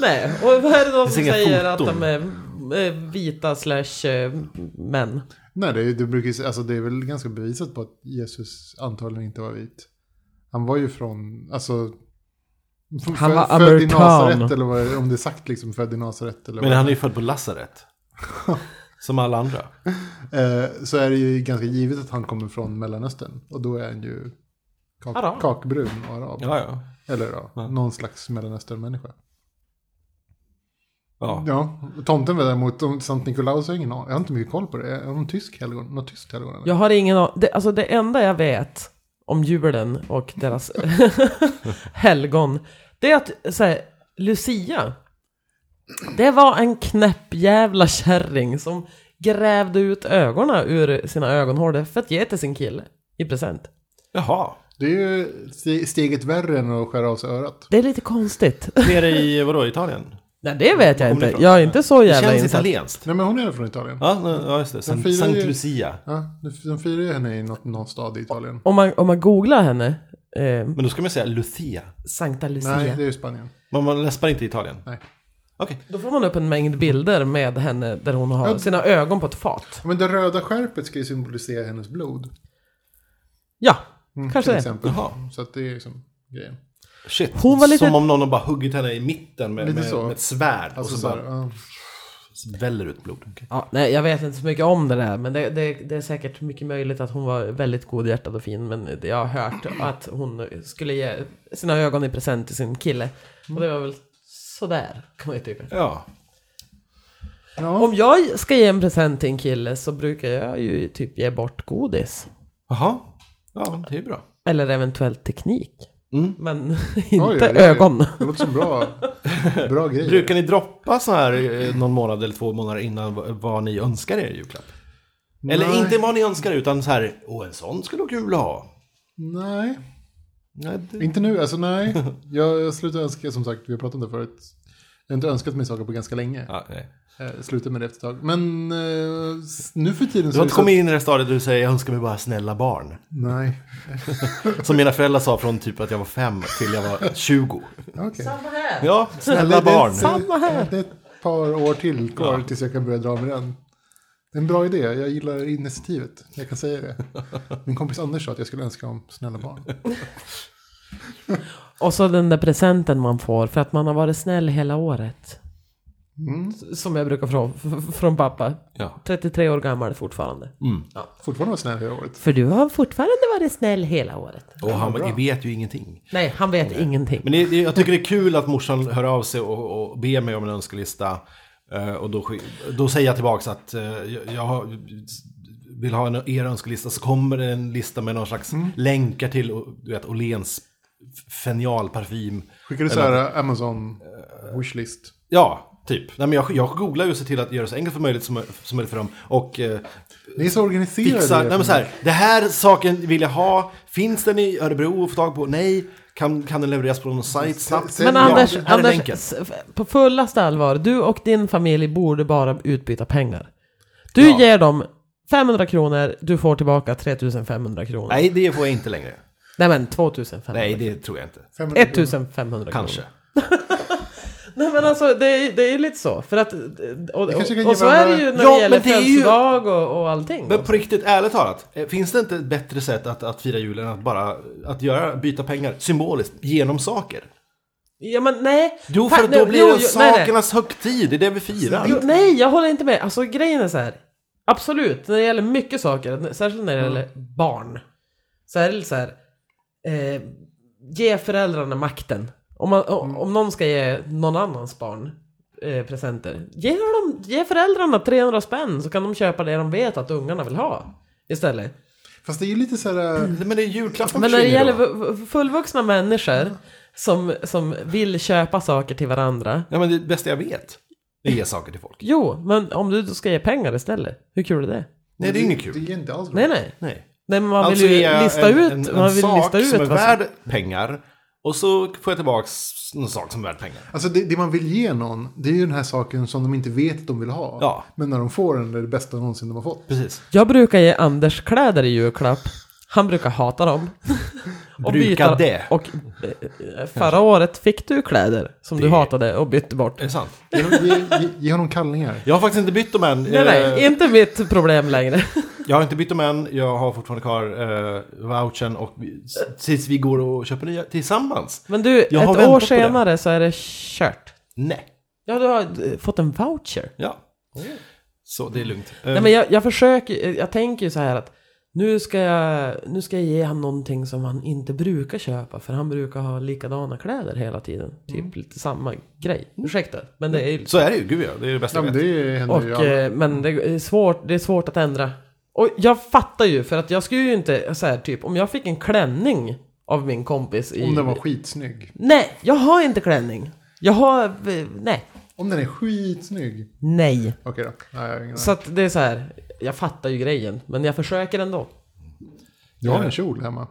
C: Nej, och vad är det då som
A: inga
C: säger
A: foton.
C: att de är eh, vita slash eh, män?
B: Nej, det, är- det, brukar, ju- alltså, det är väl ganska bevisat på att Jesus antagligen inte var vit. Han var ju från, alltså... f-
C: Han var
B: född- född i
C: amerikan.
B: Nasaret eller vad, om det är sagt liksom, född i Nasaret eller
A: Men
B: vad.
A: han är ju född på
B: (laughs)
A: lasarett. Som alla andra.
B: Eh, så är det ju ganska givet att han kommer från Mellanöstern. Och då är han ju
C: Arab.
B: kak, kakbrun och arab.
A: Ja, ja.
B: Eller ja,
A: Ja.
B: någon slags Mellanöstern-människa.
A: ja.
B: Ja, tomten var däremot, om Sankt Nikolaus har jag ingen aning. Jag har inte mycket koll på det. Är hon tysk helgon? Något tyskt helgon? eller?
C: Jag har ingen an- det, Alltså det enda jag vet om julen och deras (laughs) helgon, det är att så här, Lucia, det var en knäpp jävla kärring som grävde ut ögonen ur sina ögonhålor för att ge till sin kille i present.
A: Jaha.
B: Det är ju ste- steget värre än att skära av sig örat.
C: Det är lite konstigt. (laughs)
A: Nere i, vadå, Italien?
C: Nej, det vet jag
A: Kommer
C: inte.
A: ifrån?
C: Jag är inte så
A: Det
C: jävla
A: känns
C: insatt.
A: italienskt.
B: Nej, men hon är från Italien.
A: Ja, nej, ja, just det.
B: firar
A: San,
B: ju-
A: Sankt Lucia.
B: Ja, de- de firar ju henne i något, någon stad i Italien.
C: Om man, om man googlar henne, eh,
A: Men då ska man säga Lucia.
C: Sankta Lucia,
B: Nej, det är ju Spanien.
A: Man, man läspar inte Italien.
B: Nej.
A: Okej.
C: då får man upp en mängd bilder med henne där hon har
B: Ja.
C: sina ögon på ett fat.
B: Ja, Men det röda skärpet ska ju symbolisera hennes blod.
C: Ja,
B: Mm,
C: Kanske
B: till
C: det.
B: exempel.
A: Jaha.
B: Så att det är liksom grejen.
A: Shit.
C: Hon var lite-
A: Som om någon har bara huggit henne i mitten med,
B: Lite
A: med,
B: så.
A: med ett svärd.
B: Alltså
A: och
B: så
A: så
B: här,
A: bara
B: ja.
A: väller ut blod. Okej.
C: Ja, nej, jag vet inte så mycket om det där, men det, det, det är säkert mycket möjligt att hon var väldigt godhjärtad och fin, men det- jag har hört att hon skulle ge sina ögon i present till sin kille. Och det var väl sådär, kan man ju tycka.
A: Ja.
B: Ja.
C: Om jag ska ge en present till en kille så brukar jag ju typ ge bort godis.
A: Jaha. Ja, det är bra.
C: Eller eventuellt teknik.
A: Mm.
C: Men (laughs) inte
B: oj, oj.
C: ögon.
B: Det låter som
A: (laughs)
B: bra, bra grejer.
A: Brukar ni droppa så här eh, någon månad eller två månader innan v- vad ni önskar er i julklapp? Eller
B: Nej.
A: inte vad ni önskar utan så här, åh en sån skulle vara kul att ha.
B: Nej,
A: Nej, det...
B: inte nu. Alltså nej. Jag, jag slutar önska, som sagt, vi har pratat om det förut. Jag har inte önskat mig saker på ganska länge.
A: Ja, nej.
B: Eh, slutade med det efter ett tag. Men eh, s- nu för tiden
A: Du
B: så...
A: har
B: är det
A: inte
B: så-
A: kommit in i det stadiet där du säger jag önskar mig bara snälla barn.
B: Nej,
A: Som mina föräldrar sa från typ att jag var fem till jag var 20.
B: okej.
C: Samma här.
A: Ja,
B: Det-
A: snälla
B: det-
A: barn.
C: Samma här.
B: Det är ett par år till kvar
A: Ja.
B: tills jag kan börja dra med den. Det är en bra idé, jag gillar initiativet. Jag kan säga det. Min kompis Anders sa att jag skulle önska om snälla barn.
C: Och så den där presenten man får för att man har varit snäll hela året.
B: Mm.
C: Som jag brukar få från (laughs) pappa.
A: Ja.
C: 33 år gammal fortfarande.
B: Fortfarande var snäll hela året.
C: För du har fortfarande varit snäll hela året.
A: Och
B: Bra.
A: han vet ju ingenting.
C: Nej, han vet ingenting.
A: Men det, det, jag tycker det är kul att morsan hör av sig och, och ber mig om en önskelista. Eh, och då, sk- då säger jag tillbaka att eh, jag, jag har- vill ha en, er önskelista. Så kommer det en lista med någon slags länkar till och, du vet, Åhléns f- fenjalparfym.
B: Skickar du så här äh, Amazon
A: Eh,
B: wishlist?
A: Ja, typ. Nej, men jag, jag googlar ju och ser till att göra det så enkelt som möjligt, som, som möjligt för dem. Och eh,
B: Ni är så organiserade.
A: fixa,
B: i er
A: nej men så här, det här saken vill jag ha. Finns den i Örebro att få tag på? Nej. Kan, kan den levereras på någon sajt snabbt?
B: se-
C: Men
B: Ja,
C: Anders,
A: här är
C: Anders
A: länken.
C: s- på fullaste allvar, du och din familj borde bara utbyta pengar. Du
A: Ja.
C: ger dem 500 kronor, du får tillbaka 3500 kronor. Nej,
A: Nej, det får jag inte längre.
C: men 2500.
A: Nej, det tror jag inte.
B: 500 kronor.
C: 1500
A: Kanske.
C: kronor. Nej men alltså det är, det är lite så. För att, och, och,
B: kanske kan
C: och
B: ge
C: så är
B: varandra-
C: det ju när
A: Ja,
C: det gäller
A: men det är ju-
C: födelsedag och, och allting.
A: Men på riktigt, ärligt talat. eh, Finns det inte ett bättre sätt att, att fira julen än att bara att göra, byta pengar symboliskt genom saker?
C: Ja men nej.
A: Jo,
C: Fan,
A: för
C: nu-
A: då blir
C: jo,
A: det
C: jo, nej, nej.
A: sakernas högtid. Det är det vi firar.
C: Jo, nej, jag håller inte med. Alltså grejen är så här. Absolut, när det gäller mycket saker, särskilt när det gäller barn. Så är det lite så här. Eh, ge föräldrarna makten. Om, man, o-
A: Mm.
C: om någon ska ge någon annans barn eh, presenter. Ge, dem, ge föräldrarna 300 spänn så kan de köpa det de vet att ungarna vill ha. Istället.
B: Fast det är ju lite så här... äh,
A: Men det är julklappen
C: Men när det
A: försvinner
C: gäller
A: då.
C: vu- vu- fullvuxna människor som, som vill köpa saker till varandra.
A: Ja, men det bästa jag vet. Det är saker till folk.
C: Jo, men om du då ska ge pengar istället. Hur kul är det?
A: Nej, det är inget kul.
B: Det är inte alls
C: Nej,
B: roligt.
C: nej.
A: Nej.
C: Nej men man
A: Alltså
C: vill
A: ger
C: ju
A: jag
C: lista
A: en,
C: ut,
A: en, en
C: man vill
A: sak
C: lista ut
A: som är
C: vad som-
A: värd pengar. Och så får jag tillbaks en sak som är värd pengar.
B: Alltså det, det man vill ge någon, det är ju den här saken som de inte vet att de vill ha.
A: Ja.
B: Men när de får den, det är det bästa någonsin de har fått.
A: Precis.
C: Jag brukar ge Anders kläder i julklapp. Han brukar hata dem. och
A: Brukar det.
C: Och eh, förra året fick du kläder som du
A: Det-
C: hatade och bytte bort.
A: Är det sant?
B: Ge, ge, ge, ge honom kallningar.
A: Jag har faktiskt inte bytt dem än.
C: Nej,
A: Eh,
C: nej, inte mitt problem längre. (laughs)
A: Jag har inte bytt dem än, jag har fortfarande kvar eh, vouchern och vi- s- tills vi går och köper nya tillsammans.
C: Men du,
A: Jag har
C: ett
A: väntat
C: år
A: på det.
C: senare så är det kört.
A: Nej.
C: Ja, du har eh, fått en voucher.
A: Ja. Så det är lugnt. Eh,
C: Nej men jag, jag försöker, jag tänker ju så här att nu ska, jag, nu ska jag ge han någonting som han inte brukar köpa för han brukar ha likadana kläder hela tiden. Typ
B: Mm.
C: lite samma grej. Ursäkta, men det är ju...
A: Så är det ju, gud ja. Det är det bästa
B: Ja,
A: jag
B: men
A: vet.
B: det händer
C: Och,
B: ju alla.
C: eh, men det är, svårt, det är svårt att ändra. Och jag fattar ju för att jag skulle ju inte så här typ om jag fick en klänning av min kompis i...
B: Om den var skitsnygg.
C: Nej, jag har inte klänning. Jag har... eh, Nej.
B: Om den är skitsnygg.
C: Nej.
B: Okej då. Nej, jag har ingen
C: Så att det är så här. Jag fattar ju grejen, men jag försöker ändå.
B: Jag har en kjol hemma.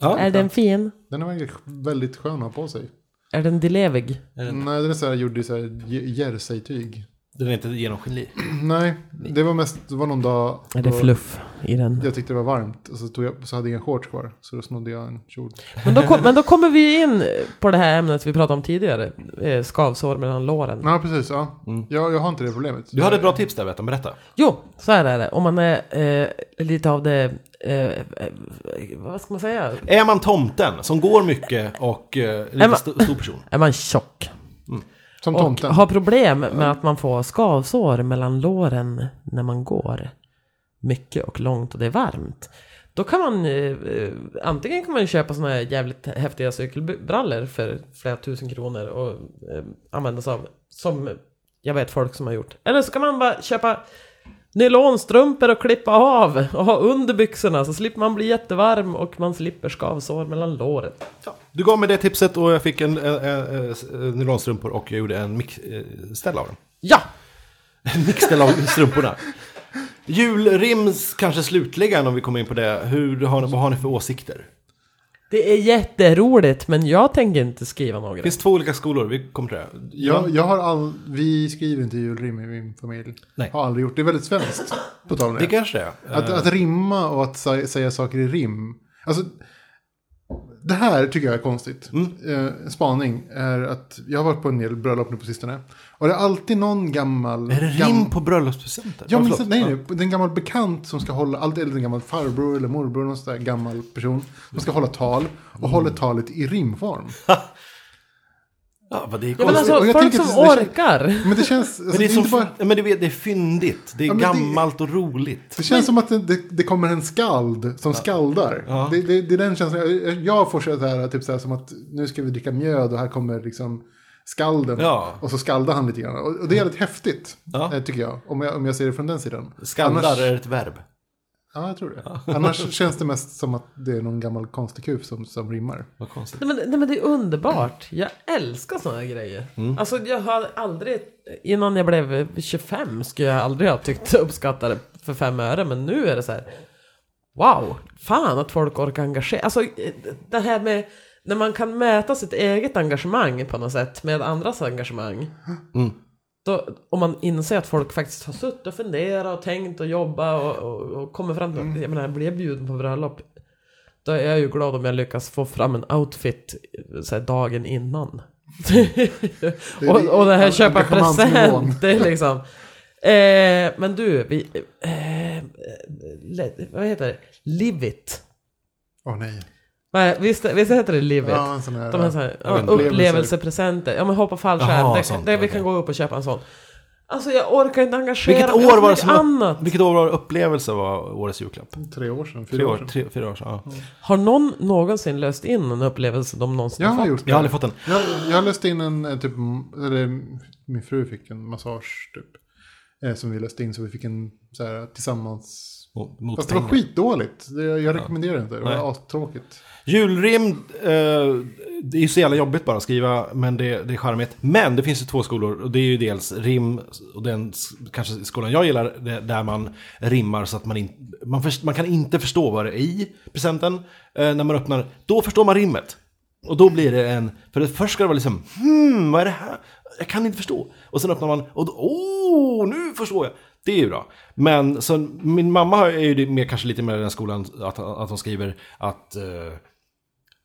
A: Ja.
C: Är den fin?
B: Den är väldigt- väldigt skön att ha på sig.
C: Är den delevig?
A: Mm.
B: Nej, den är så här gjord i så här j- jersey-tyg.
A: Den är inte genomskinlig.
B: (clears throat) Nej, det var mest, det var någon dag
C: Är det
B: då
C: fluff i den?
B: jag tyckte det var varmt. Och så, tog jag, så hade jag inga shorts kvar. Så då snodde jag en kjol.
C: Men då, kom, men då kommer vi in på det här ämnet vi pratade om tidigare. eh, Skavsår mellan låren.
B: Ja, precis. Ja. Jag, jag har inte det problemet.
A: Mm. Du hade ett bra tips där vet jag, berätta.
C: Jo, så här är det. Om man är eh, lite av det... Eh, eh, vad ska man säga?
A: Är man tomten som går mycket och eh, lite
C: man-
A: st- stor person?
C: Är man tjock
B: Som
C: och
B: tomten.
C: har problem med att man får skavsår mellan låren när man går mycket och långt och det är varmt. Då kan man eh, eh, antingen kan man ju köpa såna här jävligt häftiga cykelbrallor för flera tusen kronor och eh, använda sig av som Jag vet folk som har gjort. Eller så kan man bara köpa nylonstrumpor och klippa av och ha under byxorna så slipper man bli jättevarm och man slipper skavsår mellan låren.
A: Du gav mig det tipset och jag fick en, eh, en, en, en nylonstrumpor och jag gjorde en mix, eh, ställ av dem.
C: Ja!
A: En mixställ av strumporna. Julrims kanske slutligen om vi kommer in på det. Hur, har, ni- vad har ni för åsikter?
C: Det är jätteroligt men jag tänker inte skriva
A: Det
C: några.
A: finns två olika skolor, vi kommer till det.
B: Jag, jag har all, vi skriver inte julrim i min familj.
A: Nej.
B: Har aldrig gjort. Det är väldigt svenskt. På tal om
A: Det
B: det.
A: kanske det är.
B: Att, att rimma och att sä- säga saker i rim. Alltså, det här tycker jag är konstigt.
A: Mm.
B: Eh, en spaning är att jag har varit på en del bröllop nu på sistone. Och det är alltid någon gammal...
A: Är det rim
B: gam-
A: på bröllopspresenter?
B: Ja, men liksom-
A: förlåt.
B: sen, nej, nej, det är en gammal bekant som ska hålla, alltid, eller en gammal farbror eller morbror, någon sån där gammal person. Som ska hålla tal och håller
A: Mm.
B: talet i rimform.
A: Ja, vad det är
C: Ja, men
A: konstigt.
C: alltså
B: Och jag
C: folk
B: tänker
C: som
B: att det- det-
C: orkar.
B: Men det känns... Alltså,
A: (laughs) Men det är,
B: det är
A: som,
B: inte bara,
A: men du vet, det är fyndigt, det är
B: Ja, men det-
A: gammalt och roligt.
B: Det känns som att det, det, det kommer en skald som skaldar.
A: Ja.
B: Det, det, det är den känslan. Jag, jag får så här, typ så här som att nu ska vi dricka mjöd och här kommer liksom skalden.
A: Ja.
B: Och så skaldar han lite grann. Och, och det är väldigt häftigt,
A: Ja.
B: eh, tycker jag. Om, jag. om jag ser det från den sidan.
A: Skandar
B: Annars,
A: är ett verb.
B: ja, jag tror det.
A: (laughs)
B: Annars känns det mest som att det är någon gammal konstig kuf som, som rimmar.
A: Vad konstigt.
C: Nej men, nej men det är underbart. Jag älskar såna här grejer.
B: Mm.
C: Alltså jag har aldrig, innan jag blev 25 skulle jag aldrig ha tyckt uppskatta det för fem öre. Men nu är det så här. Wow, fan att folk orkar engagera Alltså eh, det här med när man kan mäta sitt eget engagemang på något sätt med andras engagemang. Då, om man inser att folk faktiskt har suttit och funderat och tänkt och jobbat och, och, och kommer fram till, jag menar, blir jag bjuden på bröllop då är jag ju glad om jag lyckas få fram en outfit så här, dagen innan. och, och det här köpa
B: engagemangsnivån.
C: present, det är liksom. Eh, men du, vi... Eh, le- vad heter det? Live it.
B: Åh nej.
C: Nej, Visst, visst heter det live it?
B: Ja, en sån här,
C: De här, så här ja,
B: upplevelser.
C: upplevelsepresenter. Ja men hoppa fallskärm.
A: Jaha,
C: det,
A: sånt,
C: det, vi
A: okej.
C: kan gå upp och köpa en sån. Alltså jag orkar inte engagera
A: Vilket
C: mig. Jag har
A: år, var det
C: så
A: som
C: mycket
A: annat.
C: annat.
A: vilket år var upplevelse var årets julklapp?
B: Tre år sedan, fyra
A: Tre
B: år
A: år,
B: sedan.
A: tre, fyra år sedan. Ja.
C: Har någon någonsin löst in en upplevelse de någonsin
B: Jag
C: har
B: har
C: fått?
B: gjort det.
A: Jag har aldrig fått en.
B: Jag, jag löste in en eh, typ, eller min fru fick en massage typ. eh, Som vi löste in så vi fick en så här tillsammans.
A: Mot, mot
B: Fast det var
A: pengar.
B: skitdåligt. Det, jag rekommenderar inte. Det
A: Nej.
B: var astråkigt.
A: Julrim, eh, det är ju så jävla jobbigt bara att skriva, men det, det är charmigt. Men det finns ju två skolor, och det är ju dels rim, och den s- kanske skolan jag gillar, det- där man rimmar så att man, in, man, förs- man kan inte förstå vad det är i presenten. Eh, när man öppnar, då förstår man rimmet. Och då blir det en, för det först ska det vara liksom, hmm, vad är det här? Jag kan inte förstå. Och sen öppnar man, och då, oh, nu förstår jag. Det är ju bra. Men så, min mamma är ju det mer, kanske lite mer i den skolan, att, att hon skriver att eh,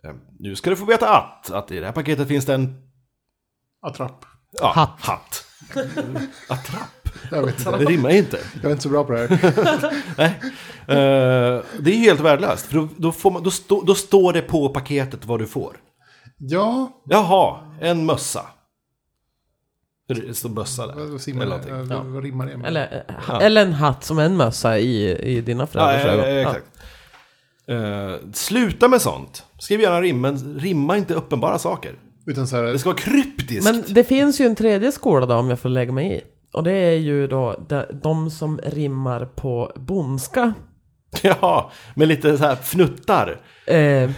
A: Eh, Nu ska du få veta att, att i det här paketet finns det en
B: Attrapp.
A: ja,
C: Hatt.
A: hatt. Attrapp.
B: Jag vet inte.
A: Det rimmar ju inte.
B: Jag är inte så bra på det här.
A: Nej. Eh, det är ju helt värdelöst. För då, då, får man, då, stå, då står det på paketet vad du får.
B: Ja,
A: Jaha, en mössa. Det står bössa där.
B: vad- vad,
A: Eller
B: simmar det?
A: någonting.
B: Vad- vad rimmar det med?
C: Eller, eh,
A: Ja.
C: eller en hatt som en mössa i, i dina
A: Ja,
C: föräldrars
A: ja, ja,
C: ögon.
A: exakt. Eh, sluta med sånt. Skriv gärna rim, men rimma inte uppenbara saker.
B: Utan så här,
A: Det ska vara kryptiskt.
C: Men det finns ju en tredje skola då om jag får lägga mig i. Och det är ju då de, de som rimmar på bondska.
A: (laughs) Ja, med lite så här fnuttar.
C: Eh,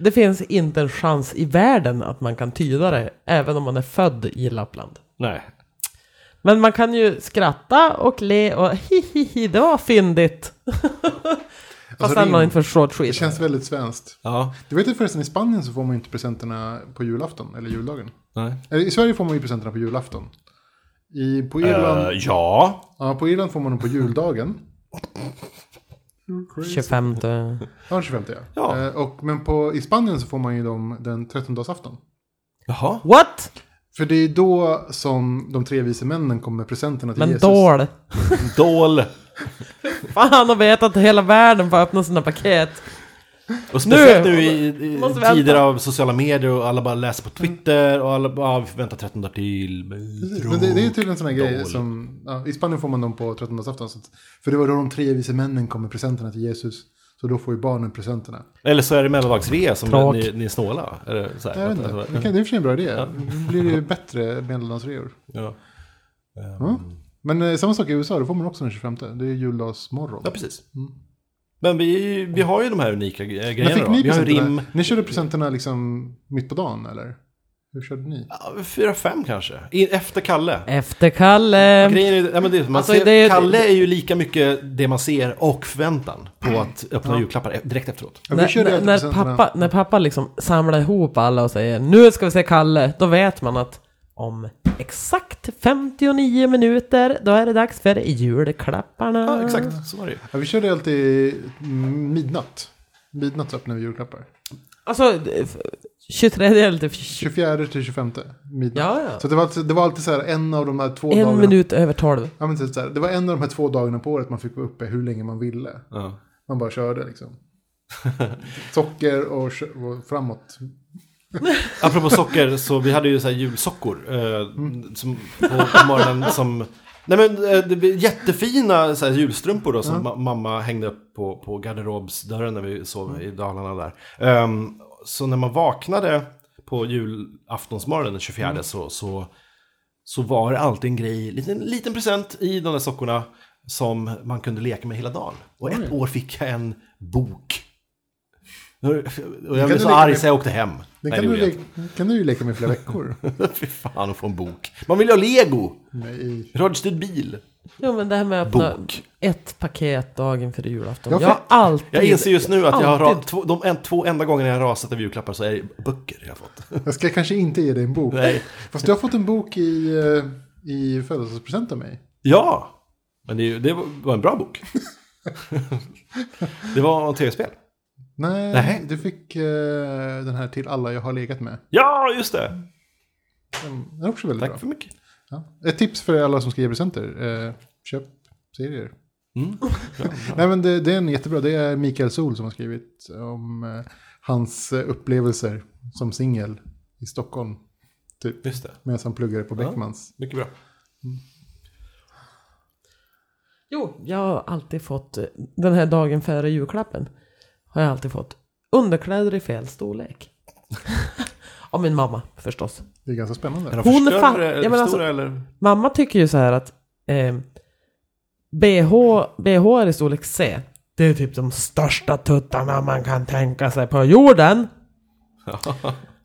C: det finns inte en chans i världen att man kan tyda det, även om man är född i Lappland.
A: Nej.
C: Men man kan ju skratta och le och hihihi, det
B: (laughs)
C: var fyndigt. Fast
B: rim-
C: alltså, man inte förstår ett
B: det
C: skit.
B: känns väldigt svenskt.
A: Ja.
B: Du vet ju förresten, i Spanien så får man ju inte presenterna på julafton eller juldagen.
A: Nej.
B: Eller, I Sverige får man ju presenterna på julafton. I, på Irland...
A: Eh, ja.
B: Ja, på Irland får man dem på juldagen.
C: 25.
B: Ja, 25 ja.
A: Ja.
B: Eh, och, men på, i Spanien så får man ju dem den 13-dagsafton.
A: Jaha.
C: What?
B: För det är då som de tre vise männen kommer med presenterna till
C: Men
B: Jesus.
C: dål.
A: Dol.
C: Fan och vet att hela världen får öppna sina paket.
A: Och speciellt
C: Nu!
A: nu, i, i
C: Måste vi
A: tider
C: vänta.
A: av sociala medier och alla bara läser på Twitter och alla bara, ah, vi får vänta 13 dagar till.
B: Men det, det är tydligen en sån här grej
A: Dål.
B: som, ja, i Spanien får man dem på 13-dagsafton. så att- För det var då de tre vise männen kom med presenterna till Jesus. Så då får ju barnen presenterna.
A: Eller så är det mellandags-rea som
C: Tråk.
A: ni, ni är snåla. Är det, så här,
B: Jag vet inte, det kan- det är i och för sig en bra idé. Då blir det ju bättre medeldagsreor.
A: Ja. Ehm,
B: Ja. Men eh, samma sak i USA, då får man också den 25. Det är juldagsmorgon.
A: Ja, precis. Men vi, vi har ju de här unika gre-
B: När
A: grejerna
B: fick
A: då.
B: ni
A: Vi har ju rim.
B: presenterna? Ni körde presenterna liksom mitt på dagen eller? Hur körde ni?
A: Ja, Fyra, fem kanske. In, efter Kalle.
C: Efter Kalle.
A: Grejen är, ja, men det, är- man
C: Ehm, Alltså,
A: ser,
C: det är-
A: Kalle är ju lika mycket det man ser och förväntan på att öppna julklappar e- direkt efteråt.
B: Ja, vi
C: När,
B: körde
C: när,
B: alltid
C: när,
B: presenterna.
C: pappa, när pappa liksom samlar ihop alla och säger Nu ska vi se Kalle, då vet man att om exakt 59 minuter då är det dags för julklapparna.
A: Ja, exakt. Så var det ju.
B: Ja, vi körde alltid mm, midnatt. Midnatt så öppnade vi julklappar.
C: Alltså, det- f- 23 eller typ 20,
B: 24 till 25 midnatt.
C: Ja, ja.
B: Så det var alltid, det var alltid så här en av de här två
C: en
B: dagarna.
C: minut över 12.
B: Ja, men typ så här, det var en av de här två dagarna på året man fick vara uppe hur länge man ville.
A: Ja.
B: Man bara körde
A: (laughs)
B: liksom. Socker och, kö- och framåt.
A: Apropå socker, så vi hade ju så här julsockor eh,
B: Mm.
A: som, på, på morgonen som... Nej men eh, det blev jättefina så här, julstrumpor då, som ma- mamma hängde upp på, på garderobsdörren när vi sov i
B: Mm.
A: Dalarna där. Ehm, så när man vaknade på julaftonsmorgonen den 24
B: Mm.
A: så, så, så var det alltid en grej, en liten, liten present i de där sockorna som man kunde leka med hela dagen. Och ett år fick jag en bok. Och jag
B: du
A: blev så
B: leka
A: arg
B: med-
A: så jag åkte hem.
B: Den
A: Nej,
B: kan,
A: det
B: du
A: gjorde jag
B: leka, kan du ju leka med i
A: (laughs)
B: flera veckor.
A: Fy fan att få en bok. Man vill ju ha lego!
B: Nej.
A: Radiostyrd bil.
C: Jo men det här med att öppna
A: Bok.
C: ett paket dagen före julafton.
B: Ja,
C: Jag,
B: för-
C: har alltid...
A: Jag inser just nu att jag har ra-
C: alltid-
A: två, de en, två enda gångerna jag har rasat över julklappar så är det böcker jag har fått.
B: Jag ska kanske inte ge dig en bok.
A: Nej.
B: Fast du har fått en bok i, eh, i födelsedagspresent av mig.
A: Ja! Men det, är ju- det var en bra bok. (laughs) det var ett tv-spel.
B: Nej,
A: Nej.
B: du fick eh, den här till alla jag har legat med.
A: Ja, just det!
B: Den är också väldigt
A: Tack
B: bra.
A: för mycket.
B: Ja. Ett tips för alla som ska ge presenter. Eh, köp serier.
A: Mm.
B: (laughs) Nej, men det, det är en jättebra. Det är Mikael Sol som har skrivit om eh, hans eh, upplevelser som singel i Stockholm. Typ,
A: Just det.
B: medan han pluggade på Beckmans.
A: Mycket bra.
C: Jo, jag har alltid fått, eh, den här dagen före julklappen, har jag alltid fått underkläder i fel
A: (laughs)
C: storlek. Av min mamma förstås.
B: Det är ganska
A: Är
B: spännande.
A: de
C: Hon
A: för större,
C: fan-
A: eller
C: ja, men alltså-
A: eh, stora eller?
C: Mamma tycker ju så här att eh, BH, BH är i storlek C. Det är typ de största tuttarna man kan tänka sig
B: (laughs)
C: på jorden.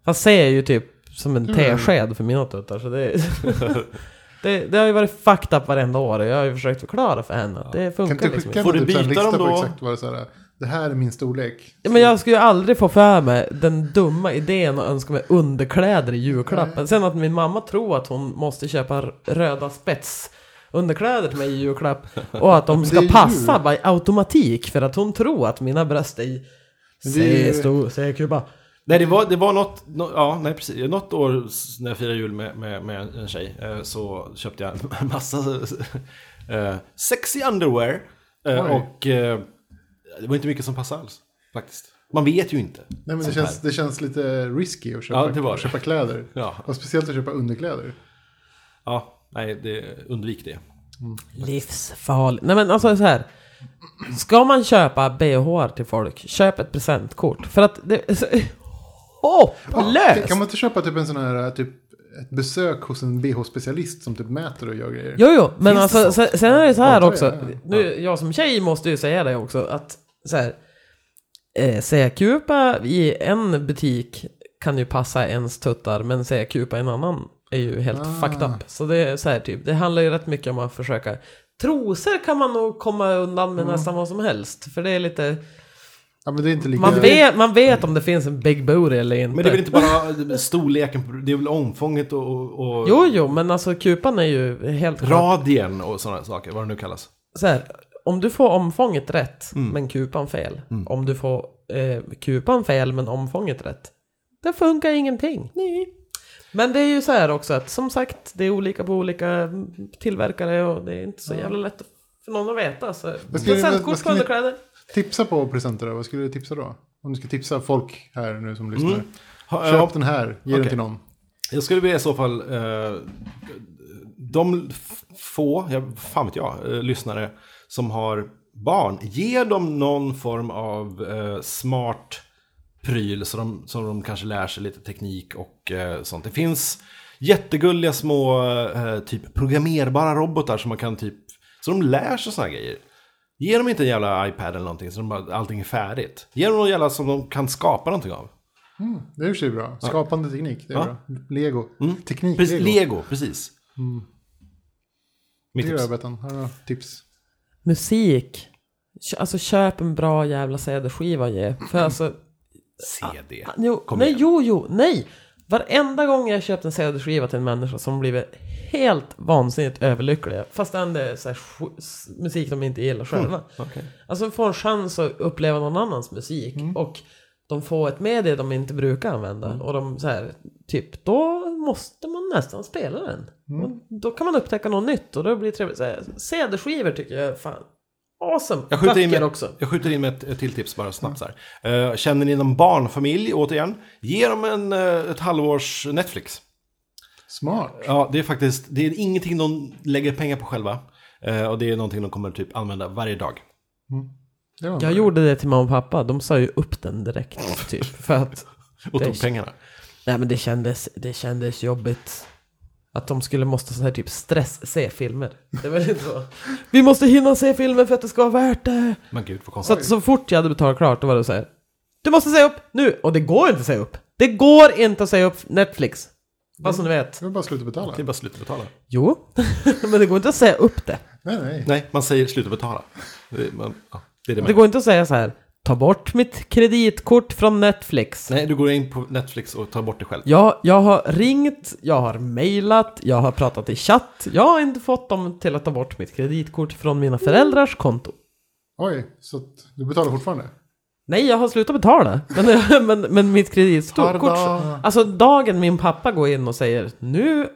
C: Fast C är ju typ som en tesked för mina tuttar. Så det, (laughs) det, det har ju varit fucked up varenda år. och Jag har ju försökt förklara för henne att det
B: Kan inte
C: funkar
B: du
C: liksom
B: skicka
C: inte.
A: Får
B: en
A: du
B: typ så här
A: byta
B: lista
A: dem
B: på
A: då?
B: exakt vad det är? så här, Det här är min storlek.
C: Ja, men jag skulle ju aldrig få för mig den dumma idén att önska mig underkläder i julklappen. Sen att min mamma tror att hon måste köpa r- röda spets underkläder till mig i
B: (laughs)
C: julklapp och att de
B: det
C: ska
B: är ju-
C: passa by automatik för att hon tror att mina bröst är
B: Men det är ju-
C: C stor, C kuba.
A: Nej, det var, det var något, nå- ja, nej, precis. något år s- när jag firade jul med, med, med en tjej eh, så köpte jag en massa eh, sexy underwear. eh,
B: Oj.
A: Och eh, det var inte mycket som passade alls, faktiskt. Man vet ju inte.
B: Nej, men det,
A: sånt
B: känns, det känns lite risky att köpa,
A: Ja, det var
B: att
A: det.
B: köpa kläder.
A: Ja.
B: Och speciellt att köpa underkläder.
A: här. Ja, nej, det, undvik det.
C: Livsfarlig. Nej men alltså så här. Ska man köpa bh till folk, köp ett presentkort. För att det är så hopplöst!
B: Kan man inte köpa typ en sån här typ ett besök hos en BH-specialist som typ mäter och gör grejer?
C: Jo, jo, men
A: Finns det
C: alltså, sen, sen är det så här
B: Antar jag,
C: också.
B: ja.
C: Nu, jag som tjej måste ju säga det också, att så här, eh, C-kupa i en butik kan ju passa ens tuttar, men C-kupa i en annan är ju helt
B: Ah.
C: fucked up. Så det är så här typ, det handlar ju rätt mycket om att försöka. Trosor kan man nog komma undan med nästan vad som helst, för det är lite,
B: Ja, men det är inte lika...
C: man, vet, man vet om det finns en big booty eller inte.
A: Men det är väl inte bara storleken, på- det är väl omfånget och, och, och
C: Jo, jo, men alltså kupan är ju helt klart
A: radien och sådana saker, vad det nu kallas.
C: så här, om du får omfånget rätt
B: Mm.
C: men kupan fel. Om du får eh, kupan fel men omfånget rätt. Det funkar ingenting. Nej. Men det är ju så här också att som sagt det är olika på olika mm, tillverkare och det är inte så jävla lätt för någon att veta. Så
B: Vad ska vi- vad
C: presentkort
B: ska
C: på
B: vi-
C: underkläder.
B: Tipsa på presenter då, vad skulle du tipsa då? Om du ska tipsa folk här nu som lyssnar.
A: Ha-
B: Köp
A: Mm. ja,
B: den här, ge den
A: Okej.
B: till någon.
A: Jag skulle vilja i så fall, eh, de f- få, jag, fan vet jag, eh, lyssnare som har barn, ge dem någon form av eh, smart pryl så de, så de kanske lär sig lite teknik och eh, sånt. Det finns, Jättegulliga små eh, typ programmerbara robotar som man kan typ, så de lär sig såna här grejer. Ge dem inte en jävla iPad eller någonting så de bara, allting är färdigt. Ge dem något jävla som de kan skapa någonting av.
B: Det är i och för sig bra. Skapande teknik, det är
A: Ja. Mm.
B: bra. Lego. Teknik,
A: Precis,
B: lego.
A: Lego. precis. Mitt
B: Det gör
A: tips.
B: jag, Bettan. Här har några tips.
C: Musik. Kö- Alltså köp en bra jävla CD-skiva och ge.
B: (clears throat)
C: För alltså,
A: CD.
C: Ah, jo,
A: Kom
C: nej,
A: igen.
C: jo, jo, nej. Varenda gång jag köpt en CD-skiva till en människa som blivit helt vansinnigt överlyckliga. Fastän det är så här, sj- s- musik de inte gillar själva.
A: Mm, Okej. Mm.
C: Alltså de får en chans att uppleva någon annans musik och de får ett medie de inte brukar använda och de så här, typ då måste man nästan spela den.
A: Mm.
C: Och då kan man upptäcka något nytt och då blir det trevligt. Så här, CD-skivor tycker jag är fan awesome.
A: Jag skjuter,
C: Böcker
A: in med,
C: också.
A: jag skjuter in med ett, ett till tips bara snabbt så här. Eh, känner ni någon barnfamilj, återigen, ge dem en, eh, ett halvårs Netflix.
B: Smart.
A: Ja, det är faktiskt, det är ingenting de lägger pengar på själva. Eh, och det är någonting de kommer typ använda varje dag.
B: Det var
C: Jag
B: bra.
C: gjorde det till mamma och pappa, de sa ju upp den direkt typ. För att,
A: Och
C: Det
A: tog
C: är-
A: pengarna.
C: nej men det kändes, det kändes jobbigt. Att de skulle måste så här typ stress-se filmer. Det var lite så. Vi måste hinna se filmen för att det ska vara värt det.
A: Men gud vad
C: Så
A: konstigt.
C: att så fort jag hade betalat klart, då var det så här. Du måste säga upp nu! Och det går inte att säga upp. Det går inte att säga upp Netflix. Vad som ni vet.
B: Det var bara att sluta betala.
A: Det är bara att sluta betala.
C: Jo, (laughs) men det går inte att säga upp det.
B: Nej, nej.
A: Nej, man säger sluta betala. Det, man, ja, det är det man
C: Det går inte att säga så här. Ta bort mitt kreditkort från Netflix.
A: Nej, du går in på Netflix och tar bort det själv.
C: Jag, jag har ringt, jag har mejlat, jag har pratat i chatt. Jag har inte fått dem till att ta bort mitt kreditkort från
A: Mm.
C: mina föräldrars konto.
B: Oj, så att du betalar fortfarande?
C: Nej, jag har slutat betala. (laughs) Men, men, men mitt kreditkort...
B: Pardon.
C: Alltså dagen min pappa går in och säger nu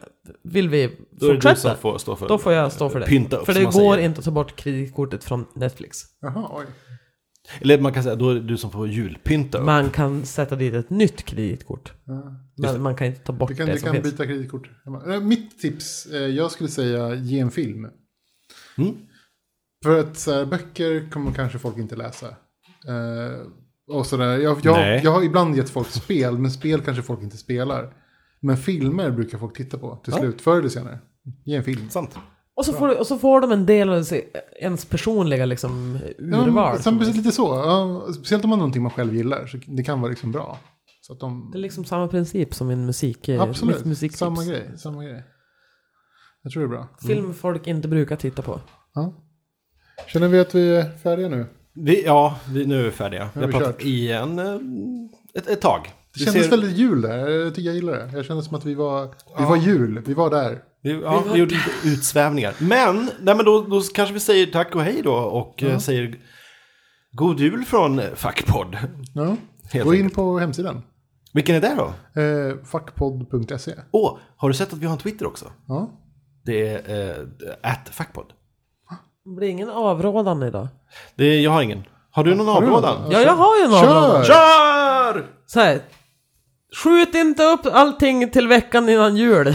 C: vill vi
A: Då är det du som
C: fortsätta.
A: får stå för
C: Då får jag stå för det.
A: Pynta upp,
C: för
A: som
C: det går
A: man säger.
C: inte att ta bort kreditkortet från Netflix.
B: Jaha, oj.
A: Eller man kan säga, då är det du som får julpynta upp.
C: Man kan sätta dit ett nytt kreditkort.
B: Ja.
C: Men man kan inte ta bort
B: Du kan,
C: det
B: du
C: som
B: kan
C: finns.
B: byta kreditkort. Eh, Mitt tips, eh, jag skulle säga ge en film.
A: Mm.
B: För att så här, böcker kommer kanske folk inte läsa. Eh, och sådär. Jag, jag,
A: Nej.
B: jag har ibland gett folk spel, men spel kanske folk inte spelar. Men filmer brukar folk titta på till
A: Ja.
B: slut, förr eller senare. Ge en film.
A: Sant.
C: Och, så får, du- och så får de en del av se- ens personliga liksom,
B: Ja,
C: urval.
B: men, sen, precis lite så. Ja, speciellt om man har någonting man själv gillar, så det kan vara liksom bra. Så att de,
C: det är liksom samma princip som min musik. eh,
B: absolut,
C: mitt musiktips.
B: samma grej, samma grej. Jag tror det är bra.
C: Film folk inte brukar titta på.
B: Ja. Känner vi att vi är färdiga nu?
A: Vi, ja, vi, nu är vi färdiga. Vi har
B: vi
A: pratat
B: kört.
A: i en, eh, ett, ett tag.
B: Det
A: Vi
B: kändes
A: ser-
B: väldigt jul där. Jag tycker jag gillar det. Jag kände som att vi var, vi var jul. Vi var där.
A: Vi, ja, vi gjorde lite utsvävningar. Men, nej, men då, då kanske vi säger tack och hej då och eh, säger god jul från eh, Fackpodd.
B: Ja.
A: Helt
B: Gå in
A: enkelt.
B: på hemsidan.
A: Vilken är det då?
B: Eh, fackpodd.se.
A: Åh, har du sett att vi har en Twitter också?
B: Ja.
A: Det är eh, fackpodd.
C: Det blir ingen avrådan idag.
A: Det är, jag har ingen. Har du någon
B: du
A: avrådan?
B: någon?
C: Ja, jag har ju en avrådan.
B: Kör!
A: Kör!
C: Så här. Skjut inte upp allting till veckan innan jul.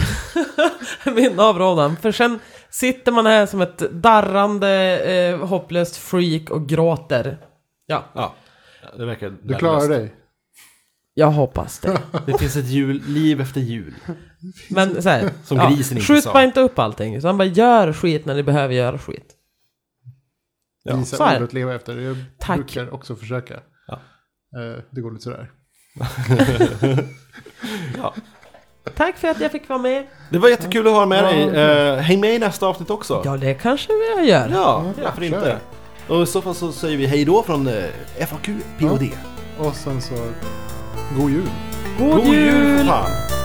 C: (laughs) Min avrådan. För sen sitter man här som ett darrande, eh, hopplöst freak och gråter. Ja,
A: Ja, det verkar
B: Du klarar dig.
C: jag hoppas det.
A: Det finns ett jul, liv efter jul.
C: Men så här,
A: Som
C: ja,
A: grisen inte
C: Skjut
A: sa.
C: bara inte upp allting. Utan bara gör skit när ni behöver göra skit.
A: Ja,
B: Visa
C: så är det.
B: ord att leva efter. Jag
C: Tack.
B: brukar också försöka.
A: Ja.
B: Eh, det går lite sådär.
A: Ja.
C: Tack för att jag fick vara med.
A: Det var jättekul att ha med dig. Eh, häng med i nästa avsnitt också.
C: Ja, det kanske jag
A: Ja,
C: gör.
B: Ja,
A: varför
B: kör.
A: inte? Och i så fall så säger vi hej då från eh, FAQ POD.
B: Och sen så, god jul.
C: God,
A: God jul!
C: jul!
A: för fan.